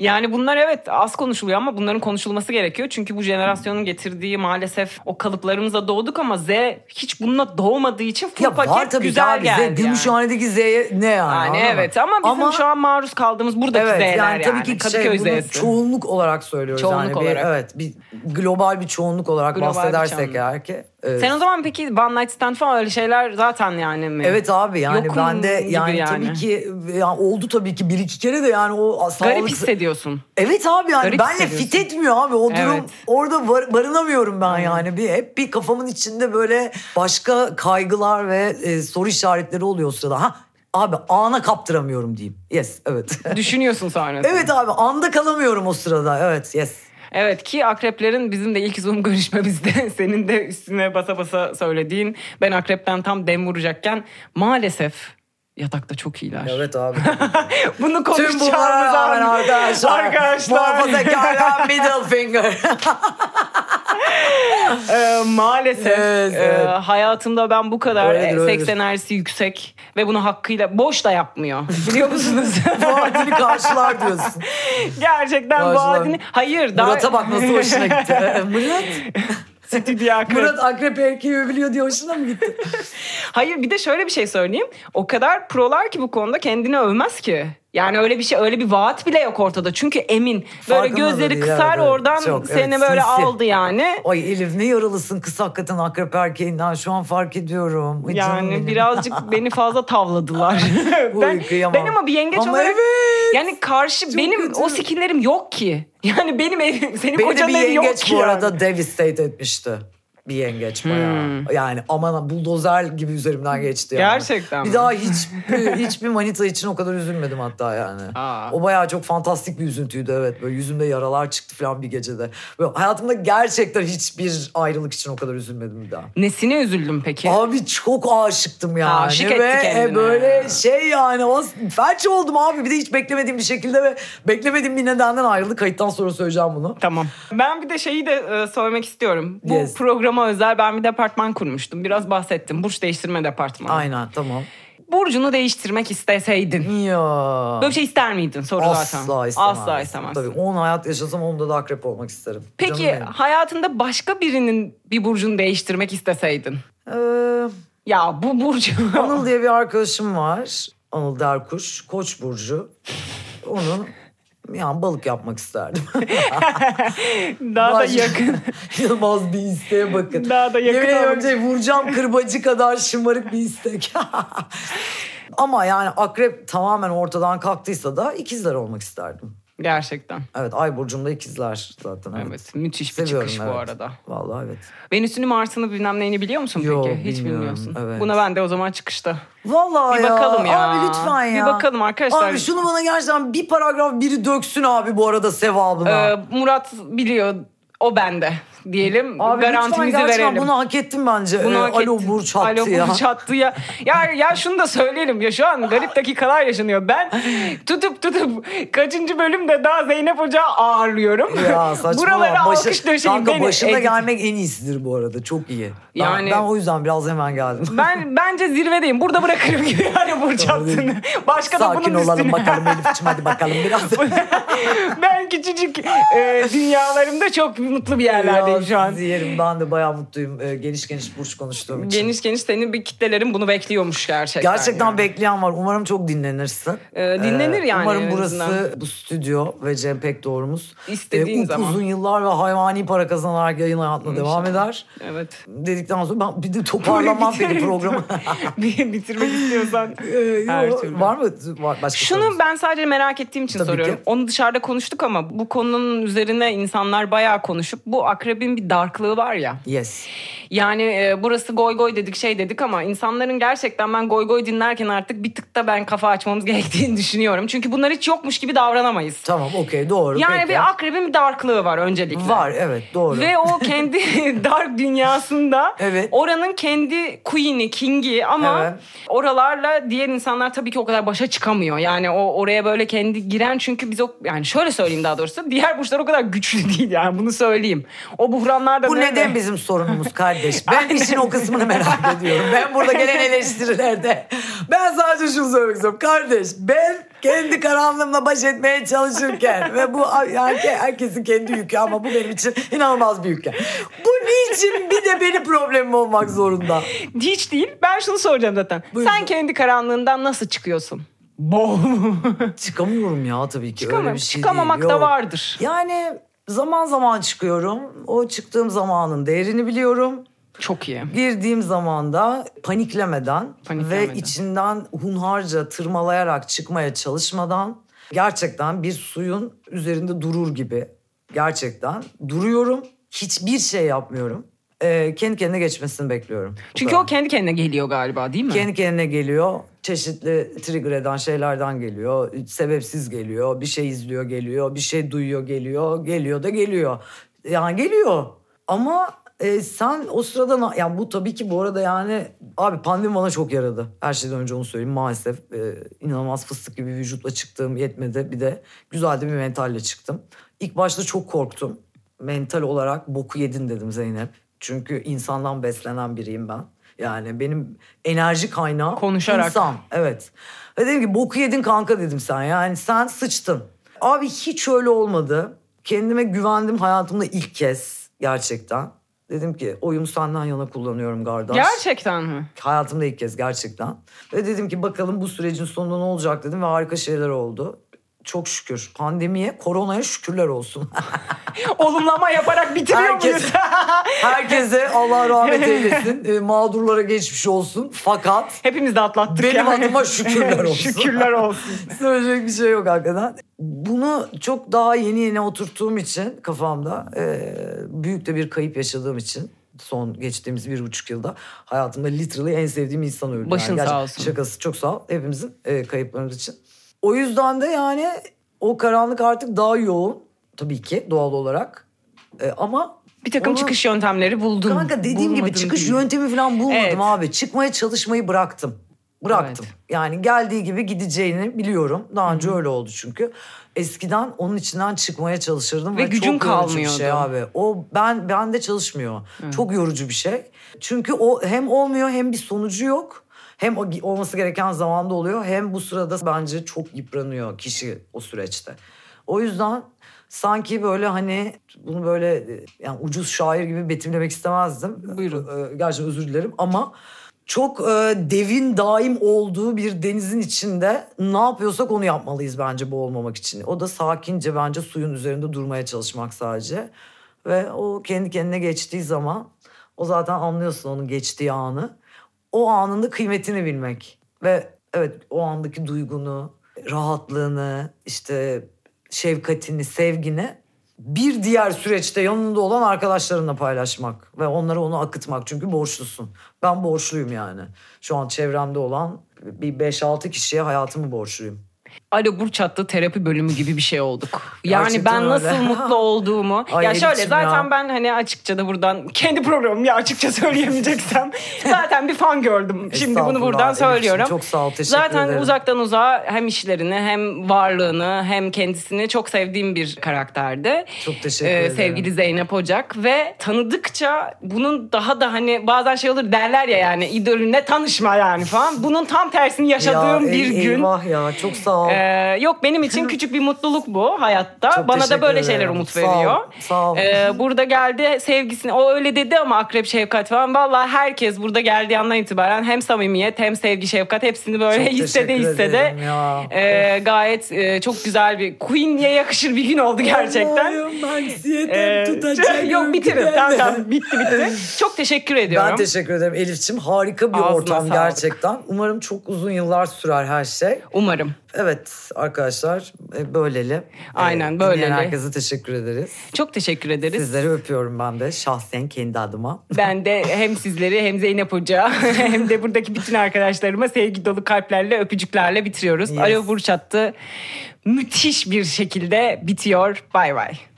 [SPEAKER 2] Yani bunlar evet az konuşuluyor ama bunların konuşulması gerekiyor. Çünkü bu jenerasyonun getirdiği maalesef o kalıplarımıza doğduk ama Z hiç bununla doğmadığı için full
[SPEAKER 3] ya var
[SPEAKER 2] paket
[SPEAKER 3] tabii
[SPEAKER 2] güzel
[SPEAKER 3] güzel
[SPEAKER 2] geldi. yani.
[SPEAKER 3] Z, Gümüşhane'deki Z'ye ne yani?
[SPEAKER 2] Yani
[SPEAKER 3] anladın mı?
[SPEAKER 2] evet ama bizim şu an maruz kaldığımız buradaki
[SPEAKER 3] Evet
[SPEAKER 2] Z'ler yani.
[SPEAKER 3] yani tabii ki
[SPEAKER 2] Kadıköy
[SPEAKER 3] şey, bunu
[SPEAKER 2] Z'si.
[SPEAKER 3] çoğunluk olarak söylüyoruz.
[SPEAKER 2] Çoğunluk
[SPEAKER 3] yani. Bir-
[SPEAKER 2] olarak.
[SPEAKER 3] evet bir global bir çoğunluk olarak
[SPEAKER 2] Global bir
[SPEAKER 3] bahsedersek
[SPEAKER 2] çoğunluk.
[SPEAKER 3] eğer ki. e,
[SPEAKER 2] Sen o zaman peki one night stand falan öyle şeyler zaten yani mi?
[SPEAKER 3] Evet abi yani
[SPEAKER 2] Yokum
[SPEAKER 3] ben de
[SPEAKER 2] gibi
[SPEAKER 3] yani,
[SPEAKER 2] yani.
[SPEAKER 3] tabii ki yani oldu tabii ki bir iki kere de yani o sağlık...
[SPEAKER 2] Garip hissediyorsun.
[SPEAKER 3] Evet abi yani
[SPEAKER 2] Garip
[SPEAKER 3] benle
[SPEAKER 2] hissediyorsun.
[SPEAKER 3] fit etmiyor abi o durum
[SPEAKER 2] Evet.
[SPEAKER 3] orada var- barınamıyorum ben yani bir hep bir kafamın içinde böyle başka kaygılar ve e, soru işaretleri oluyor o sırada. Ha abi ana kaptıramıyorum diyeyim. Yes evet.
[SPEAKER 2] Düşünüyorsun sonrasında.
[SPEAKER 3] evet abi anda kalamıyorum o sırada evet yes.
[SPEAKER 2] Evet ki akreplerin bizim de ilk Zoom görüşmemizde senin de üstüne basa basa söylediğin ben akrepten tam dem vuracakken maalesef yatakta çok iyiler.
[SPEAKER 3] Evet abi.
[SPEAKER 2] Bunu
[SPEAKER 3] Tüm
[SPEAKER 2] konuşacağımız
[SPEAKER 3] bunlara rağmen
[SPEAKER 2] an-
[SPEAKER 3] arkadaşlar.
[SPEAKER 2] Arkadaşlar.
[SPEAKER 3] Muhafazakara middle finger.
[SPEAKER 2] Ee, maalesef
[SPEAKER 3] Evet,
[SPEAKER 2] e,
[SPEAKER 3] evet.
[SPEAKER 2] hayatımda ben bu kadar
[SPEAKER 3] Öyledir,
[SPEAKER 2] e, seks
[SPEAKER 3] öyledir.
[SPEAKER 2] enerjisi yüksek ve bunu hakkıyla boş da yapmıyor. Biliyor musunuz?
[SPEAKER 3] Vaadini karşılar diyorsun.
[SPEAKER 2] Gerçekten bu
[SPEAKER 3] Karşılar.
[SPEAKER 2] adını... Hayır. daha-
[SPEAKER 3] Murat'a bak nasıl hoşuna gitti. Murat,
[SPEAKER 2] Stüdyo akrep.
[SPEAKER 3] Murat akrep erkeği övülüyor diye hoşuna mı gitti?
[SPEAKER 2] Hayır bir de şöyle bir şey söyleyeyim. O kadar prolar ki bu konuda kendini övmez ki. Yani öyle bir şey öyle bir vaat bile yok ortada. Çünkü emin. Böyle
[SPEAKER 3] Farkında da
[SPEAKER 2] gözleri
[SPEAKER 3] değil,
[SPEAKER 2] kısar
[SPEAKER 3] evet,
[SPEAKER 2] oradan
[SPEAKER 3] çok, evet,
[SPEAKER 2] seni böyle
[SPEAKER 3] sinsi.
[SPEAKER 2] aldı yani.
[SPEAKER 3] Ay Elif ne yaralısın kız hakikaten akrep erkeğinden şu an fark ediyorum. Ay canım
[SPEAKER 2] Yani
[SPEAKER 3] benim.
[SPEAKER 2] birazcık beni fazla tavladılar.
[SPEAKER 3] Uy,
[SPEAKER 2] ben,
[SPEAKER 3] kıyamam.
[SPEAKER 2] ben ama bir yengeç
[SPEAKER 3] Ama
[SPEAKER 2] olarak
[SPEAKER 3] evet.
[SPEAKER 2] yani karşı benim
[SPEAKER 3] kötü.
[SPEAKER 2] o skillerim yok ki. Yani benim evim, senin
[SPEAKER 3] Beni de
[SPEAKER 2] kocanın
[SPEAKER 3] bir
[SPEAKER 2] evi yok
[SPEAKER 3] yengeç
[SPEAKER 2] ki.
[SPEAKER 3] bu
[SPEAKER 2] yani.
[SPEAKER 3] arada devastate etmişti. Bir yengeç bayağı.
[SPEAKER 2] Hmm.
[SPEAKER 3] Yani aman buldozer gibi üzerimden geçti. Yani.
[SPEAKER 2] Gerçekten
[SPEAKER 3] Bir
[SPEAKER 2] mi?
[SPEAKER 3] daha hiçbir, hiçbir manita için o kadar üzülmedim hatta yani.
[SPEAKER 2] Aa.
[SPEAKER 3] O bayağı çok fantastik bir üzüntüydü evet. Böyle yüzümde yaralar çıktı falan bir gecede. Böyle hayatımda gerçekten hiçbir ayrılık için o kadar üzülmedim bir daha.
[SPEAKER 2] Nesine üzüldüm peki?
[SPEAKER 3] Abi çok aşıktım yani.
[SPEAKER 2] Aşık etti
[SPEAKER 3] ve e,
[SPEAKER 2] kendini.
[SPEAKER 3] böyle şey yani o felç oldum abi. Bir de hiç beklemediğim bir şekilde ve beklemediğim bir nedenden ayrıldı. Kayıttan sonra söyleyeceğim bunu.
[SPEAKER 2] Tamam. Ben bir de şeyi de e, söylemek istiyorum. Bu
[SPEAKER 3] Yes.
[SPEAKER 2] programa özel ben bir departman kurmuştum. Biraz bahsettim. Burç değiştirme departmanı.
[SPEAKER 3] Aynen tamam.
[SPEAKER 2] Burcunu değiştirmek isteseydin.
[SPEAKER 3] Ya.
[SPEAKER 2] Böyle bir şey ister miydin soru
[SPEAKER 3] Asla
[SPEAKER 2] zaten.
[SPEAKER 3] istemem.
[SPEAKER 2] Asla istemezsin.
[SPEAKER 3] Tabii 10 hayat yaşasam onda da akrep olmak isterim.
[SPEAKER 2] Peki
[SPEAKER 3] Canım
[SPEAKER 2] hayatında başka birinin bir burcunu değiştirmek isteseydin.
[SPEAKER 3] benim. Ee,
[SPEAKER 2] Ya bu burcu.
[SPEAKER 3] Anıl diye bir arkadaşım var. Anıl Derkuş. Koç burcu. Onun yani balık yapmak isterdim.
[SPEAKER 2] Daha da
[SPEAKER 3] Başka-
[SPEAKER 2] yakın.
[SPEAKER 3] Yılmaz bir isteğe bakın.
[SPEAKER 2] Daha da yakın
[SPEAKER 3] Yemin ediyorum
[SPEAKER 2] olmuş.
[SPEAKER 3] şey, vuracağım kırbacı kadar şımarık bir istek. Ama yani akrep tamamen ortadan kalktıysa da ikizler olmak isterdim.
[SPEAKER 2] Gerçekten.
[SPEAKER 3] Evet ay burcumda ikizler zaten. Evet.
[SPEAKER 2] Evet. Müthiş bir
[SPEAKER 3] Seviyorum,
[SPEAKER 2] çıkış
[SPEAKER 3] evet.
[SPEAKER 2] bu arada.
[SPEAKER 3] Vallahi evet.
[SPEAKER 2] Venüs'ünü Mars'ını bilmem neyini biliyor musun
[SPEAKER 3] Yok,
[SPEAKER 2] peki? Hiç
[SPEAKER 3] bilmiyorum,
[SPEAKER 2] bilmiyorsun.
[SPEAKER 3] evet.
[SPEAKER 2] Buna ben de o zaman çıkışta.
[SPEAKER 3] Vallahi
[SPEAKER 2] Bir
[SPEAKER 3] ya.
[SPEAKER 2] bakalım ya.
[SPEAKER 3] Abi lütfen
[SPEAKER 2] Bir
[SPEAKER 3] ya.
[SPEAKER 2] bakalım arkadaşlar.
[SPEAKER 3] Abi şunu bana gerçekten bir paragraf biri döksün abi bu arada sevabına.
[SPEAKER 2] Ee, Murat biliyor. O bende. diyelim
[SPEAKER 3] Abi lütfen
[SPEAKER 2] garantimizi
[SPEAKER 3] gerçekten
[SPEAKER 2] verelim.
[SPEAKER 3] bunu hak ettim bence.
[SPEAKER 2] Bunu
[SPEAKER 3] Ee,
[SPEAKER 2] hak
[SPEAKER 3] Alo
[SPEAKER 2] ettin.
[SPEAKER 3] Burç hattı
[SPEAKER 2] Alo
[SPEAKER 3] ya.
[SPEAKER 2] Burç hattı ya. Ya, ya şunu da söyleyelim ya şu an garip dakikalar yaşanıyor. Ben tutup tutup kaçıncı bölümde daha Zeynep Hoca ağırlıyorum.
[SPEAKER 3] Ya saçmalama.
[SPEAKER 2] Buralara
[SPEAKER 3] Başı-
[SPEAKER 2] alkış döşeyin
[SPEAKER 3] Kanka
[SPEAKER 2] beni.
[SPEAKER 3] başına
[SPEAKER 2] Edit.
[SPEAKER 3] gelmek en iyisidir bu arada. Çok iyi. Ben,
[SPEAKER 2] Yani-
[SPEAKER 3] ben o yüzden biraz hemen geldim.
[SPEAKER 2] Ben bence zirvedeyim. Burada bırakırım gibi yani Burç hattını. Başka da bunun
[SPEAKER 3] Sakin olalım
[SPEAKER 2] üstüne.
[SPEAKER 3] bakalım Elif'ciğim hadi bakalım biraz.
[SPEAKER 2] ben küçücük e, dünyalarımda çok mutlu bir yerlerdeyim şu an.
[SPEAKER 3] Biraz yerim ben de bayağı mutluyum. Ee, Geniş geniş burç konuştuğum için.
[SPEAKER 2] Geniş geniş senin bir kitlelerin bunu bekliyormuş gerçekten.
[SPEAKER 3] Gerçekten
[SPEAKER 2] yani.
[SPEAKER 3] bekleyen var. Umarım çok dinlenirsin.
[SPEAKER 2] Ee, dinlenir
[SPEAKER 3] Ee,
[SPEAKER 2] yani en
[SPEAKER 3] Umarım burası
[SPEAKER 2] azından.
[SPEAKER 3] bu stüdyo ve Cem Pek doğrumuz.
[SPEAKER 2] İstediğin zaman.
[SPEAKER 3] e, Uzun yıllar ve hayvani para kazanarak yayın hayatına devam eder.
[SPEAKER 2] Evet.
[SPEAKER 3] Dedikten sonra ben bir de toparlamam
[SPEAKER 2] Bitirelim.
[SPEAKER 3] beni programı.
[SPEAKER 2] Bir bitirmek istiyorsan.
[SPEAKER 3] Ee,
[SPEAKER 2] Her
[SPEAKER 3] yo,
[SPEAKER 2] türlü.
[SPEAKER 3] var mı var, başka sorunuz?
[SPEAKER 2] Şunu ben sadece merak ettiğim için
[SPEAKER 3] Tabii
[SPEAKER 2] soruyorum.
[SPEAKER 3] ki.
[SPEAKER 2] Onu dışarıda konuştuk ama bu konunun üzerine insanlar bayağı konuşup bu akrebin bir darklığı var ya.
[SPEAKER 3] Yes.
[SPEAKER 2] Yani e, burası goy goy dedik şey dedik ama insanların gerçekten ben goy goy dinlerken artık bir tık da ben kafa açmamız gerektiğini düşünüyorum. Çünkü bunlar hiç yokmuş gibi davranamayız.
[SPEAKER 3] Tamam okey doğru.
[SPEAKER 2] yani
[SPEAKER 3] peki.
[SPEAKER 2] bir akrebin bir darklığı var öncelikle.
[SPEAKER 3] Var evet doğru.
[SPEAKER 2] Ve o kendi dark dünyasında
[SPEAKER 3] Evet.
[SPEAKER 2] oranın kendi queen'i, king'i ama
[SPEAKER 3] Evet.
[SPEAKER 2] oralarla diğer insanlar tabii ki o kadar başa çıkamıyor. Yani o oraya böyle kendi giren çünkü biz o yani şöyle söyleyeyim daha doğrusu diğer burçlar o kadar güçlü değil yani bunu söyleyeyim. O buhranlarda
[SPEAKER 3] Bu
[SPEAKER 2] nerede?
[SPEAKER 3] neden bizim sorunumuz kardeş? Ben işin o kısmını merak ediyorum. Ben burada gelen eleştirilerde. Ben sadece şunu söylemek istiyorum. Kardeş ben kendi karanlığımla baş etmeye çalışırken ve bu yani herkesin kendi yükü ama bu benim için inanılmaz bir yük. Bu niçin bir de benim problemim olmak zorunda?
[SPEAKER 2] Hiç değil. Ben şunu soracağım zaten.
[SPEAKER 3] Buyurun.
[SPEAKER 2] Sen kendi karanlığından nasıl çıkıyorsun? Bol.
[SPEAKER 3] Çıkamıyorum ya tabii ki. Öyle
[SPEAKER 2] Çıkamam.
[SPEAKER 3] bir şey
[SPEAKER 2] Çıkamamak
[SPEAKER 3] değil.
[SPEAKER 2] da
[SPEAKER 3] Yok.
[SPEAKER 2] vardır.
[SPEAKER 3] Yani zaman zaman çıkıyorum. O çıktığım zamanın değerini biliyorum.
[SPEAKER 2] Çok iyi.
[SPEAKER 3] Girdiğim zaman da paniklemeden,
[SPEAKER 2] Paniklemeden.
[SPEAKER 3] ve içinden hunharca tırmalayarak çıkmaya çalışmadan gerçekten bir suyun üzerinde durur gibi gerçekten duruyorum. Hiçbir şey yapmıyorum. Ee, kendi kendine geçmesini bekliyorum. Bu
[SPEAKER 2] Çünkü
[SPEAKER 3] kadar.
[SPEAKER 2] o kendi kendine geliyor galiba değil mi?
[SPEAKER 3] kendi kendine geliyor. Çeşitli trigger eden şeylerden geliyor. Sebepsiz geliyor. Bir şey izliyor geliyor. Bir şey duyuyor geliyor. Geliyor da geliyor. Yani geliyor. Ama e, sen o sırada na- yani bu tabii ki bu arada yani abi pandemi bana çok yaradı. Her şeyden önce onu söyleyeyim maalesef. e, inanılmaz fıstık gibi vücutla çıktığım yetmedi. Bir de güzel de bir mentalle çıktım. İlk başta çok korktum. Mental olarak boku yedin dedim Zeynep. Çünkü insandan beslenen biriyim ben. Yani benim enerji kaynağı
[SPEAKER 2] Konuşarak.
[SPEAKER 3] insan. Evet. Ve dedim ki boku yedin kanka dedim sen. Yani sen sıçtın. Abi hiç öyle olmadı. Kendime güvendim hayatımda ilk kez gerçekten. Dedim ki oyumu senden yana kullanıyorum kardeş.
[SPEAKER 2] Gerçekten mi?
[SPEAKER 3] Hayatımda ilk kez gerçekten. Ve dedim ki bakalım bu sürecin sonunda ne olacak dedim ve harika şeyler oldu. Çok şükür. Pandemiye, koronaya şükürler olsun.
[SPEAKER 2] Olumlama yaparak bitiriyor
[SPEAKER 3] Herkes-
[SPEAKER 2] muyuz?
[SPEAKER 3] Herkese Allah rahmet eylesin. e, mağdurlara geçmiş olsun. Fakat
[SPEAKER 2] Hepimiz de atlattık
[SPEAKER 3] benim
[SPEAKER 2] yani.
[SPEAKER 3] adıma şükürler olsun.
[SPEAKER 2] Şükürler olsun.
[SPEAKER 3] Söyleyecek bir şey yok hakikaten. Bunu çok daha yeni yeni oturttuğum için kafamda e, büyük de bir kayıp yaşadığım için son geçtiğimiz bir buçuk yılda hayatımda literally en sevdiğim insan öldü.
[SPEAKER 2] Başın sağ
[SPEAKER 3] gerçekten
[SPEAKER 2] olsun.
[SPEAKER 3] Şakası çok sağ ol hepimizin e, kayıplarımız için. O yüzden de yani o karanlık artık daha yoğun tabii ki doğal olarak E, ama
[SPEAKER 2] Bir takım
[SPEAKER 3] Onu-
[SPEAKER 2] çıkış yöntemleri buldum.
[SPEAKER 3] Kanka dediğim gibi
[SPEAKER 2] Bulmadım
[SPEAKER 3] çıkış
[SPEAKER 2] değil.
[SPEAKER 3] yöntemi falan bulmadım
[SPEAKER 2] Evet.
[SPEAKER 3] abi. Çıkmaya çalışmayı bıraktım. Bıraktım.
[SPEAKER 2] Evet.
[SPEAKER 3] Yani geldiği gibi gideceğini biliyorum. Daha önce öyle oldu çünkü. Eskiden onun içinden çıkmaya çalışırdım
[SPEAKER 2] Ve
[SPEAKER 3] ve,
[SPEAKER 2] gücün
[SPEAKER 3] çok yorucu bir
[SPEAKER 2] kalmıyordu.
[SPEAKER 3] şey abi. O ben ben de çalışmıyor. Çok yorucu bir şey. Çünkü o hem olmuyor hem bir sonucu yok. Hem o olması gereken zamanda oluyor hem bu sırada bence çok yıpranıyor kişi o süreçte. O yüzden sanki böyle hani bunu böyle e, yani ucuz şair gibi betimlemek istemezdim.
[SPEAKER 2] Buyurun.
[SPEAKER 3] E, Gerçekten özür dilerim ama çok e, devin daim olduğu bir denizin içinde ne yapıyorsak onu yapmalıyız bence boğulmamak için. O da sakince bence suyun üzerinde durmaya çalışmak sadece. Ve o kendi kendine geçtiği zaman o zaten anlıyorsun onun geçtiği anı. O anın da kıymetini bilmek ve evet o andaki duygunu, rahatlığını, işte şefkatini, sevgini bir diğer süreçte yanında olan arkadaşlarınla paylaşmak ve onlara onu akıtmak çünkü borçlusun. Ben borçluyum yani. Şu an çevremde olan bir 5-6 kişiye hayatımı borçluyum.
[SPEAKER 2] Alo Burç hattı terapi bölümü gibi bir şey olduk. Yani
[SPEAKER 3] Gerçekten
[SPEAKER 2] ben nasıl
[SPEAKER 3] öyle.
[SPEAKER 2] mutlu olduğumu.
[SPEAKER 3] Ay
[SPEAKER 2] ya şöyle
[SPEAKER 3] Elif'ciğim
[SPEAKER 2] zaten
[SPEAKER 3] ya.
[SPEAKER 2] ben hani açıkça da buradan kendi programım ya açıkça söyleyemeyeceksem zaten bir fan gördüm. Şimdi bunu
[SPEAKER 3] Estağfurullah
[SPEAKER 2] buradan
[SPEAKER 3] Elif'ciğim,
[SPEAKER 2] söylüyorum.
[SPEAKER 3] çok sağ ol, teşekkür
[SPEAKER 2] Zaten
[SPEAKER 3] ederim.
[SPEAKER 2] uzaktan uzağa hem işlerini hem varlığını hem kendisini çok sevdiğim bir karakterdi. Ee,
[SPEAKER 3] Çok teşekkür ederim.
[SPEAKER 2] Sevgili Zeynep Ocak ve tanıdıkça bunun daha da hani bazen şey olur derler ya yani idolünle tanışma yani falan. Bunun tam tersini yaşadığım
[SPEAKER 3] Ya,
[SPEAKER 2] bir
[SPEAKER 3] ey-
[SPEAKER 2] gün.
[SPEAKER 3] Eyvah ya çok sağ ol.
[SPEAKER 2] Ee, yok benim için küçük bir mutluluk bu hayatta.
[SPEAKER 3] Çok
[SPEAKER 2] Bana da
[SPEAKER 3] teşekkür
[SPEAKER 2] böyle şeyler
[SPEAKER 3] ederim.
[SPEAKER 2] umut
[SPEAKER 3] Sağ ol,
[SPEAKER 2] veriyor.
[SPEAKER 3] sağ ol.
[SPEAKER 2] Ee, burada geldi sevgisini o öyle dedi ama Akrep Şefkat falan. Valla herkes burada geldiği andan itibaren hem samimiyet hem sevgi şefkat hepsini böyle
[SPEAKER 3] Çok
[SPEAKER 2] hissede
[SPEAKER 3] teşekkür
[SPEAKER 2] hissede
[SPEAKER 3] ederim ya.
[SPEAKER 2] e, gayet e, çok güzel bir Queen'ye yakışır bir gün oldu gerçekten.
[SPEAKER 3] Allah'ım, anksiyetem
[SPEAKER 2] Ee,
[SPEAKER 3] tutacak
[SPEAKER 2] yok bitirin.
[SPEAKER 3] ülkeden.
[SPEAKER 2] Tamam, tamam, bitti bitti. Çok teşekkür ediyorum.
[SPEAKER 3] Ben teşekkür ederim Elifçim. Harika bir
[SPEAKER 2] Ağzına
[SPEAKER 3] ortam
[SPEAKER 2] sağlık.
[SPEAKER 3] gerçekten. Umarım çok uzun yıllar sürer her şey.
[SPEAKER 2] Umarım.
[SPEAKER 3] Evet arkadaşlar e, böyleli. E,
[SPEAKER 2] Aynen,
[SPEAKER 3] dinleyen
[SPEAKER 2] böyleli.
[SPEAKER 3] herkese teşekkür ederiz.
[SPEAKER 2] Çok teşekkür ederiz.
[SPEAKER 3] Sizleri öpüyorum ben de şahsen kendi adıma.
[SPEAKER 2] Ben de hem sizleri hem Zeynep Hoca hem de buradaki bütün arkadaşlarıma sevgi dolu kalplerle öpücüklerle bitiriyoruz.
[SPEAKER 3] Yes.
[SPEAKER 2] Alo Burç attı. Müthiş bir şekilde bitiyor. Bay bay.